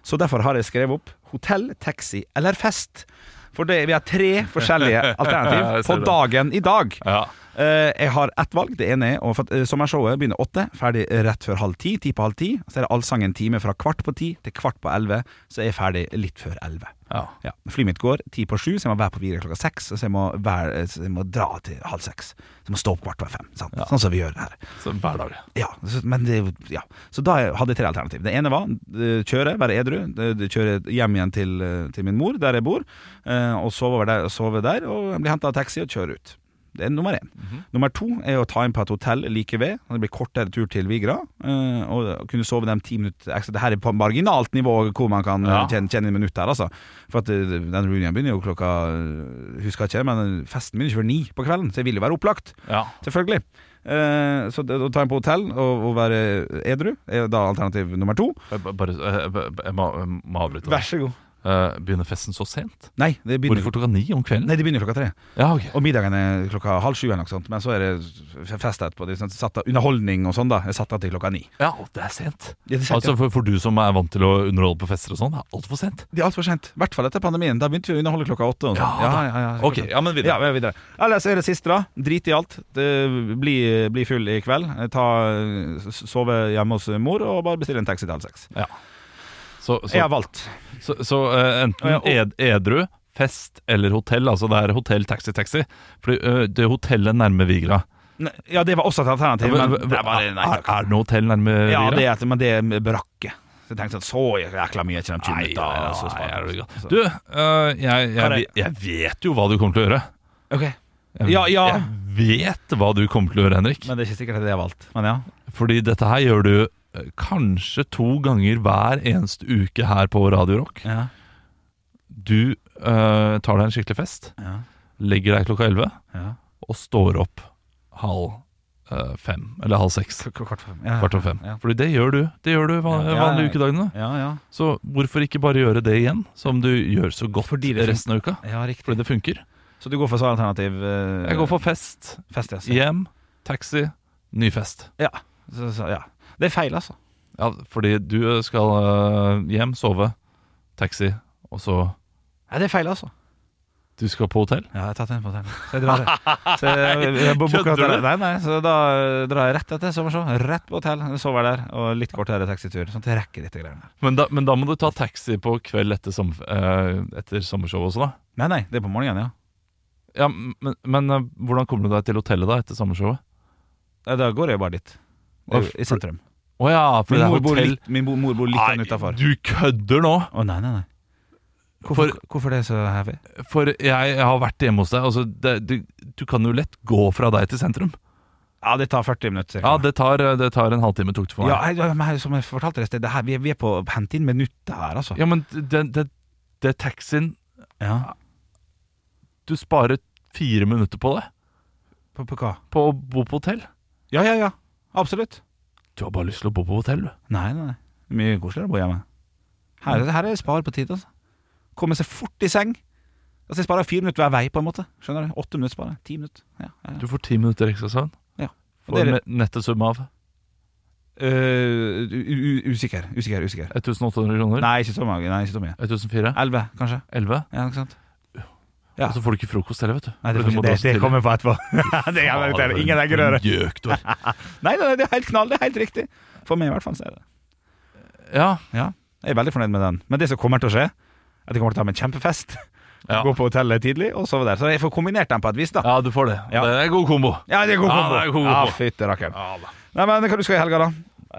S2: Så derfor har jeg skrevet opp hotell, taxi eller fest. For det, vi har tre forskjellige
S3: Ja, jeg
S2: alternativ
S3: ser
S2: på
S3: det.
S2: dagen i dag.
S3: Ja.
S2: Eh, jeg har ett valg. Det ene er og for at, eh, Sommershowet begynner åtte, ferdig rett før halv ti. Ti på halv ti. Så er det allsang en time fra kvart på ti til kvart på elleve. Så er jeg ferdig litt før elleve.
S3: Ja.
S2: Ja. Flyet mitt går ti på sju, så jeg må være på videre klokka seks. Så jeg må, være, eh, så jeg må dra til halv seks. Så jeg må stå opp kvart på fem. Sant? Sånn som vi gjør her.
S3: Så hver dag.
S2: Ja, så, men det, er jo- ja. så da hadde jeg tre alternativ. Det ene var eh, kjøre, være edru. eh, Det- det Kjøre hjem igjen til, eh, til min mor, der jeg bor, eh, og sove, over der, sove der. Og bli henta av taxi og kjøre ut. Det er nummer én. Nummer to er å ta inn på et hotell like ved. Det blir kortere tur til Vigra. eh, og kunne sove dem ti minutter ekstra. Det her er på marginalt nivå hvor man kan eh,
S3: Ja.
S2: tjene, tjene inn minutt der, altså. For at eh, den reunionen begynner jo klokka eh, Husker jeg ikke, men festen begynner ikke før ni på kvelden, så jeg vil jo være opplagt.
S3: Ja.
S2: Selvfølgelig. Eh, så det, å ta en på hotell og, og være edru er da alternativ nummer to.
S3: Jeg ba- Bare, eh, jeg ba- jeg må, jeg må avbryte. deg.
S2: så god.
S3: Eh, Begynner festen så sent?
S2: Nei, det begynner,
S3: Hvorfor klokka ni om kvelden?
S2: nei, det begynner klokka tre.
S3: Ja, ok.
S2: Og middagen er klokka halv sju, eller noe sånt. Men så er det fest etterpå. Det er sånn satt av underholdning og sånn, da. Jeg satt av til klokka ni.
S3: Ja, og det er sent.
S2: Ja, det er sent,
S3: altså, for, for du som er vant til å underholde på fester og sånn, det er altfor sent.
S2: Det er altfor sent. I hvert fall etter pandemien. Da begynte vi å underholde klokka åtte. Og sånn.
S3: Ja, da. Ok,
S2: selvfølgelig.
S3: ja, men videre.
S2: Ja, men videre. Ellers er det siste, da. Drit i alt. Det- Bli, bli full i kveld. Ta, sove hjemme hos mor, og bare bestille en taxi til halv seks.
S3: Ja. Så, så,
S2: Jeg har valgt.
S3: så, så eh, enten
S2: Ja, og-
S3: ed, edru, fest eller hotell. Altså det er hotell, taxi, taxi. Fordi eh, det hotellet nærme Vigra
S2: Nei, Ja, det var også et alternativ, men
S3: er,
S2: det var det, nei,
S3: er, er det noe hotell nærme
S2: Ja,
S3: Vigra?
S2: det er, men det er med brakke. Så jeg tenkte sånn, så jækla mye er ikke de 20
S3: Nei, nei,
S2: minutter. og så
S3: nei,
S2: sparer
S3: er det
S2: vi.
S3: galt. Du, eh, jeg,
S2: Har
S3: jeg,
S2: jeg-
S3: jeg, jeg vet jo hva du kommer til å gjøre.
S2: Ok.
S3: Jeg,
S2: Ja, ja.
S3: jeg vet hva du kommer til å gjøre, Henrik.
S2: Men det er ikke sikkert det er det jeg har valgt. Men ja.
S3: Fordi dette her gjør du eh, kanskje to ganger hver eneste uke her på Radio Rock.
S2: ja.
S3: Du eh, tar deg en skikkelig fest,
S2: Ja.
S3: legger deg klokka 11
S2: ja.
S3: og står opp halv eh, fem, eller halv seks.
S2: K- Kvart over fem. Ja.
S3: Kvart over fem.
S2: Ja.
S3: Fordi det gjør du. Det gjør du van
S2: Ja, ja, ja.
S3: vanlige ukedagene.
S2: Ja, ja.
S3: Så hvorfor ikke bare gjøre det igjen, som du gjør så godt
S2: Fordi det fun-
S3: resten av uka?
S2: ja, riktig.
S3: Fordi det funker.
S2: Så du går for sånn alternativ eh,
S3: Jeg går for fest,
S2: fest, yes.
S3: hjem, taxi, ny fest.
S2: Ja. Så, så, ja. Det er feil, altså.
S3: Ja, fordi du skal eh, hjem, sove, taxi, og så
S2: Ja, det er feil, altså.
S3: Du skal på hotell?
S2: Ja, jeg har tatt den på den. Så jeg drar det. Så jeg, jeg, jeg bo- boker
S3: Kødder du?
S2: hotellet. Nei, nei, så da eh, drar jeg rett etter sommershow. Rett på hotell, sover der, og litt kortere taxitur. Sånn at jeg rekker dette greiene.
S3: Men da, men da må du ta taxi på kveld etter, som, eh, etter sommershowet også, da.
S2: Nei, nei, det er på morgenen, ja.
S3: Ja, men, men eh, hvordan kommer du deg til hotellet da etter sommershowet?
S2: Nei, Da går jeg bare dit. Det er jo I sentrum.
S3: Å ja, for
S2: Min
S3: det er
S2: mor bor
S3: hotell
S2: litt, min bo- mor bor litt sånn utafor.
S3: du kødder nå!
S2: Å nei, nei, nei.
S3: For,
S2: Hvorfor, hvorfor det er så heavy?
S3: for jeg, jeg har vært hjemme hos deg. Altså, det, du, du kan jo lett gå fra deg til sentrum.
S2: Ja, det tar 40 minutter.
S3: Ja,
S2: cirka.
S3: det tar, det tar en halvtime, tok det for
S2: ja,
S3: meg.
S2: jeg, jeg- men som jeg fortalte deg, i sted, det her, vi, er- vi er på hent inn minutter her, altså.
S3: Ja, men det, det, det taxien
S2: Ja.
S3: Du sparer fire minutter på det.
S2: På, på hva?
S3: På å bo på hotell.
S2: Ja, ja, ja. Absolutt.
S3: Du har bare lyst til å bo på hotell, du.
S2: Nei, nei, nei. Mye koseligere å bo hjemme. Her, er- her er spar på tid, altså. Komme seg fort i seng. Altså, jeg sparer fire minutter hver vei, på en måte. Skjønner du? Åtte minutter sparer jeg. Ti minutter. Ja, ja, ja.
S3: Du får ti minutter ekstra søvn.
S2: Ja. Og
S3: Får
S2: dere-
S3: ne- nette sum av
S2: Øh, u- u- usikker, usikker, usikker.
S3: 1800 kroner.
S2: Nei, ikke så mange. Nei, ikke så mye.
S3: 1400.
S2: Elleve, kanskje.
S3: 11.
S2: Ja, ikke sant? Ja.
S3: Og så får du ikke frokost heller, vet du.
S2: Nei, det,
S3: Fordi du må dra til-
S2: kommer på etterpå. det kan jeg
S3: Fader,
S2: irritere. Ingen jeg rører.
S3: for en gjøk du er.
S2: Nei, nei, nei, det er helt knall, det er helt riktig. For meg i hvert fall, så er det
S3: Ja.
S2: Ja. Jeg er veldig fornøyd med den. Men det som kommer til å skje, er at jeg kommer til å ta meg en kjempefest.
S3: Ja.
S2: Gå på hotellet tidlig og sove der. Så jeg får kombinert den på et vis, da.
S3: Ja, du får det.
S2: Ja.
S3: Det er en god kombo.
S2: Ja, det er god
S3: Ja,
S2: kombo.
S3: det er god
S2: Ja,
S3: kombo.
S2: fytte rakkeren.
S3: Ja, da.
S2: Nei, men hva du skal i helga, da?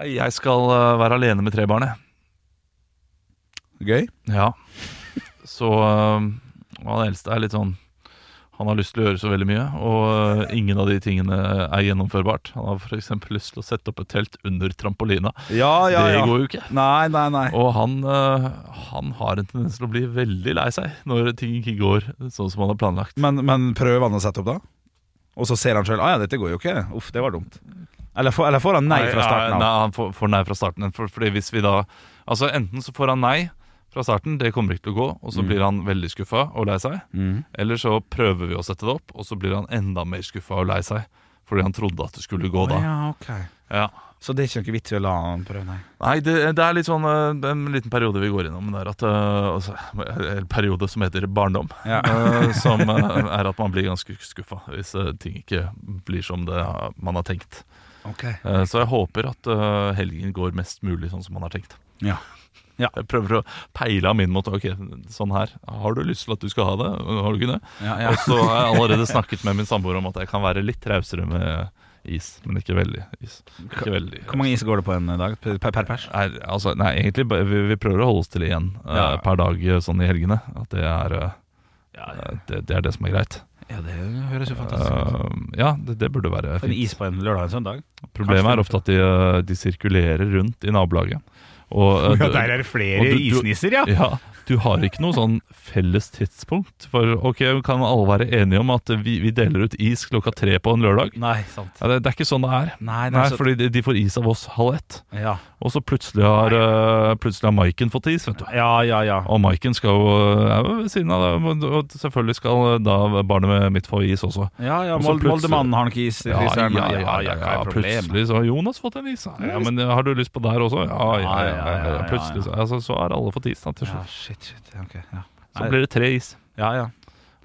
S3: Jeg skal eh, være alene med tre barn, jeg.
S2: Gøy?
S3: Ja. Så eh, han eldste er litt sånn Han har lyst til å gjøre så veldig mye, og eh, ingen av de tingene er gjennomførbart. Han har f.eks. lyst til å sette opp et telt under trampolina.
S2: Ja, ja, ja.
S3: Det går jo ikke.
S2: Nei, nei, nei.
S3: Og han, eh, han har en tendens til å bli veldig lei seg når ting ikke går sånn som han har planlagt.
S2: Men, men prøver han å sette opp, da? Og så ser han sjøl ah, ja, dette går jo ikke. Uff, det var dumt. Eller, får- eller får han nei fra starten
S3: Nei,
S2: av?
S3: han får, får nei fra starten. For, fordi hvis vi da, altså Enten så får han nei fra starten, det kommer ikke til å gå, og så blir han veldig skuffa og lei seg. Eller så prøver vi å sette det opp, og så blir han enda mer skuffa og lei seg. Fordi han trodde at det skulle gå da.
S2: Ja, ok
S3: Ja.
S2: Så det er ikke noe vits i å la han prøve, nei.
S3: Nei, det, det er litt sånn eh, det er en liten periode vi går innom der. At, eh, altså, en periode som heter barndom.
S2: Ja.
S3: eh, som eh, er at man blir ganske skuffa hvis eh, ting ikke blir som det eh, man har tenkt.
S2: Ok
S3: Eh, Så jeg håper at eh, helgen går mest mulig sånn som man har tenkt.
S2: Ja. Ja.
S3: Jeg prøver å peile ham inn mot ok, sånn her. Har du lyst til at du skal ha det? Har du ikke det?
S2: Ja, ja.
S3: Og så har jeg allerede snakket med min samboer om at jeg kan være litt trausere med is, men ikke veldig is. Ikke veldig.
S2: Hvor mange is går det på en eh, dag? Per, per pers?
S3: Nei, altså, nei, egentlig bare- vi, vi prøver å holde oss til igjen eh,
S2: Ja.
S3: per dag eh, sånn i helgene. At det er, eh, eh, det, det er det som er greit.
S2: Ja, det høres jo
S3: Eh, ja, det, det burde være
S2: Eh, En is på en lørdag og en søndag?
S3: Problemet er ofte at de, eh, de sirkulerer rundt i nabolaget. Og, eh, du-
S2: er det flere
S3: og du- du-
S2: ja!
S3: ja, du har ikke noe sånn felles tidspunkt. For ok, kan alle være enige om at vi, vi deler ut is klokka tre på en lørdag?
S2: Nei, sant.
S3: Ja, det, det er ikke sånn det er.
S2: Nei, det er
S3: Nei,
S2: så-
S3: fordi de, de får is av oss halv ett.
S2: Ja,
S3: Og så plutselig har, eh, plutselig har Maiken fått is, vet du.
S2: ja, ja. ja.
S3: Og Maiken skal jo eh, er jo ved siden av det, og selvfølgelig skal eh, da barnet mitt få is også.
S2: Ja, ja,
S3: Og så
S2: Mold,
S3: plutselig-
S2: Moldemannen har nok is i fryseren. hva er problemet?
S3: Plutselig så har Jonas fått en is. Ja, men eh, har du lyst på der også? Ja, ja, ja.
S2: Ja, ja,
S3: ja,
S2: ja, ja.
S3: Plutselig så, altså, så er alle fått is. Da, til
S2: Ja,
S3: slutt.
S2: shit, shit. ja, Ok, ja.
S3: Så blir det tre is.
S2: Ja, ja.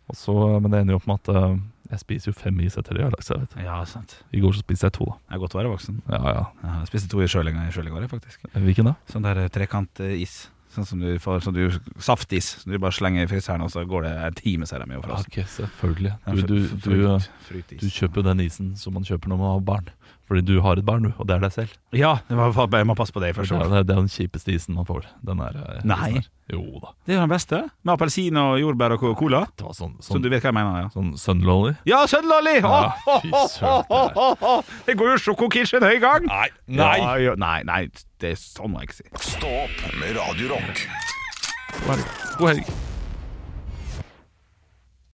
S3: Og så, men det ender jo opp med at eh, jeg spiser jo fem is etter det jeg har lagt seg. Vet.
S2: Ja, sant.
S3: du. I går så spiste jeg to. da.
S2: Det er godt å være voksen.
S3: Ja, ja.
S2: Ja, jeg spiste to i sjølinga i sjøl i går, jeg, faktisk.
S3: Hvilken da?
S2: Sånn der trekantis. Sånn som du får sånn du, saftis. Som du bare slenger i fryseren, og så går det en time, ser de jo fra oss.
S3: Ok, selvfølgelig.
S2: Ja,
S3: Du,
S2: fru-
S3: du,
S2: fru-
S3: du, eh,
S2: frukt- frutis.
S3: du kjøper jo den isen som man kjøper når man har barn. Fordi du har et barn, du, og det er deg selv.
S2: Ja, jeg må, jeg må passe på det i første
S3: Ja,
S2: omgang.
S3: det, er- det er den kjipeste isen man får. Den er, eh, isen
S2: Nei.
S3: her. Jo da.
S2: Det er jo den beste. eh, Med appelsin og jordbær og co- cola.
S3: Det var sånn,
S2: Så
S3: sånn,
S2: du vet hva jeg mener, ja.
S3: sånn Sunlolly.
S2: Ja, Sødlali!
S3: Ja, fy søren, det
S2: Det går jo sjokokitchen høy gang!
S3: Nei,
S2: Ja, ja, nei, nei, det er sånn må jeg ikke si.
S1: Stå opp med Radio Rock.
S3: God helg.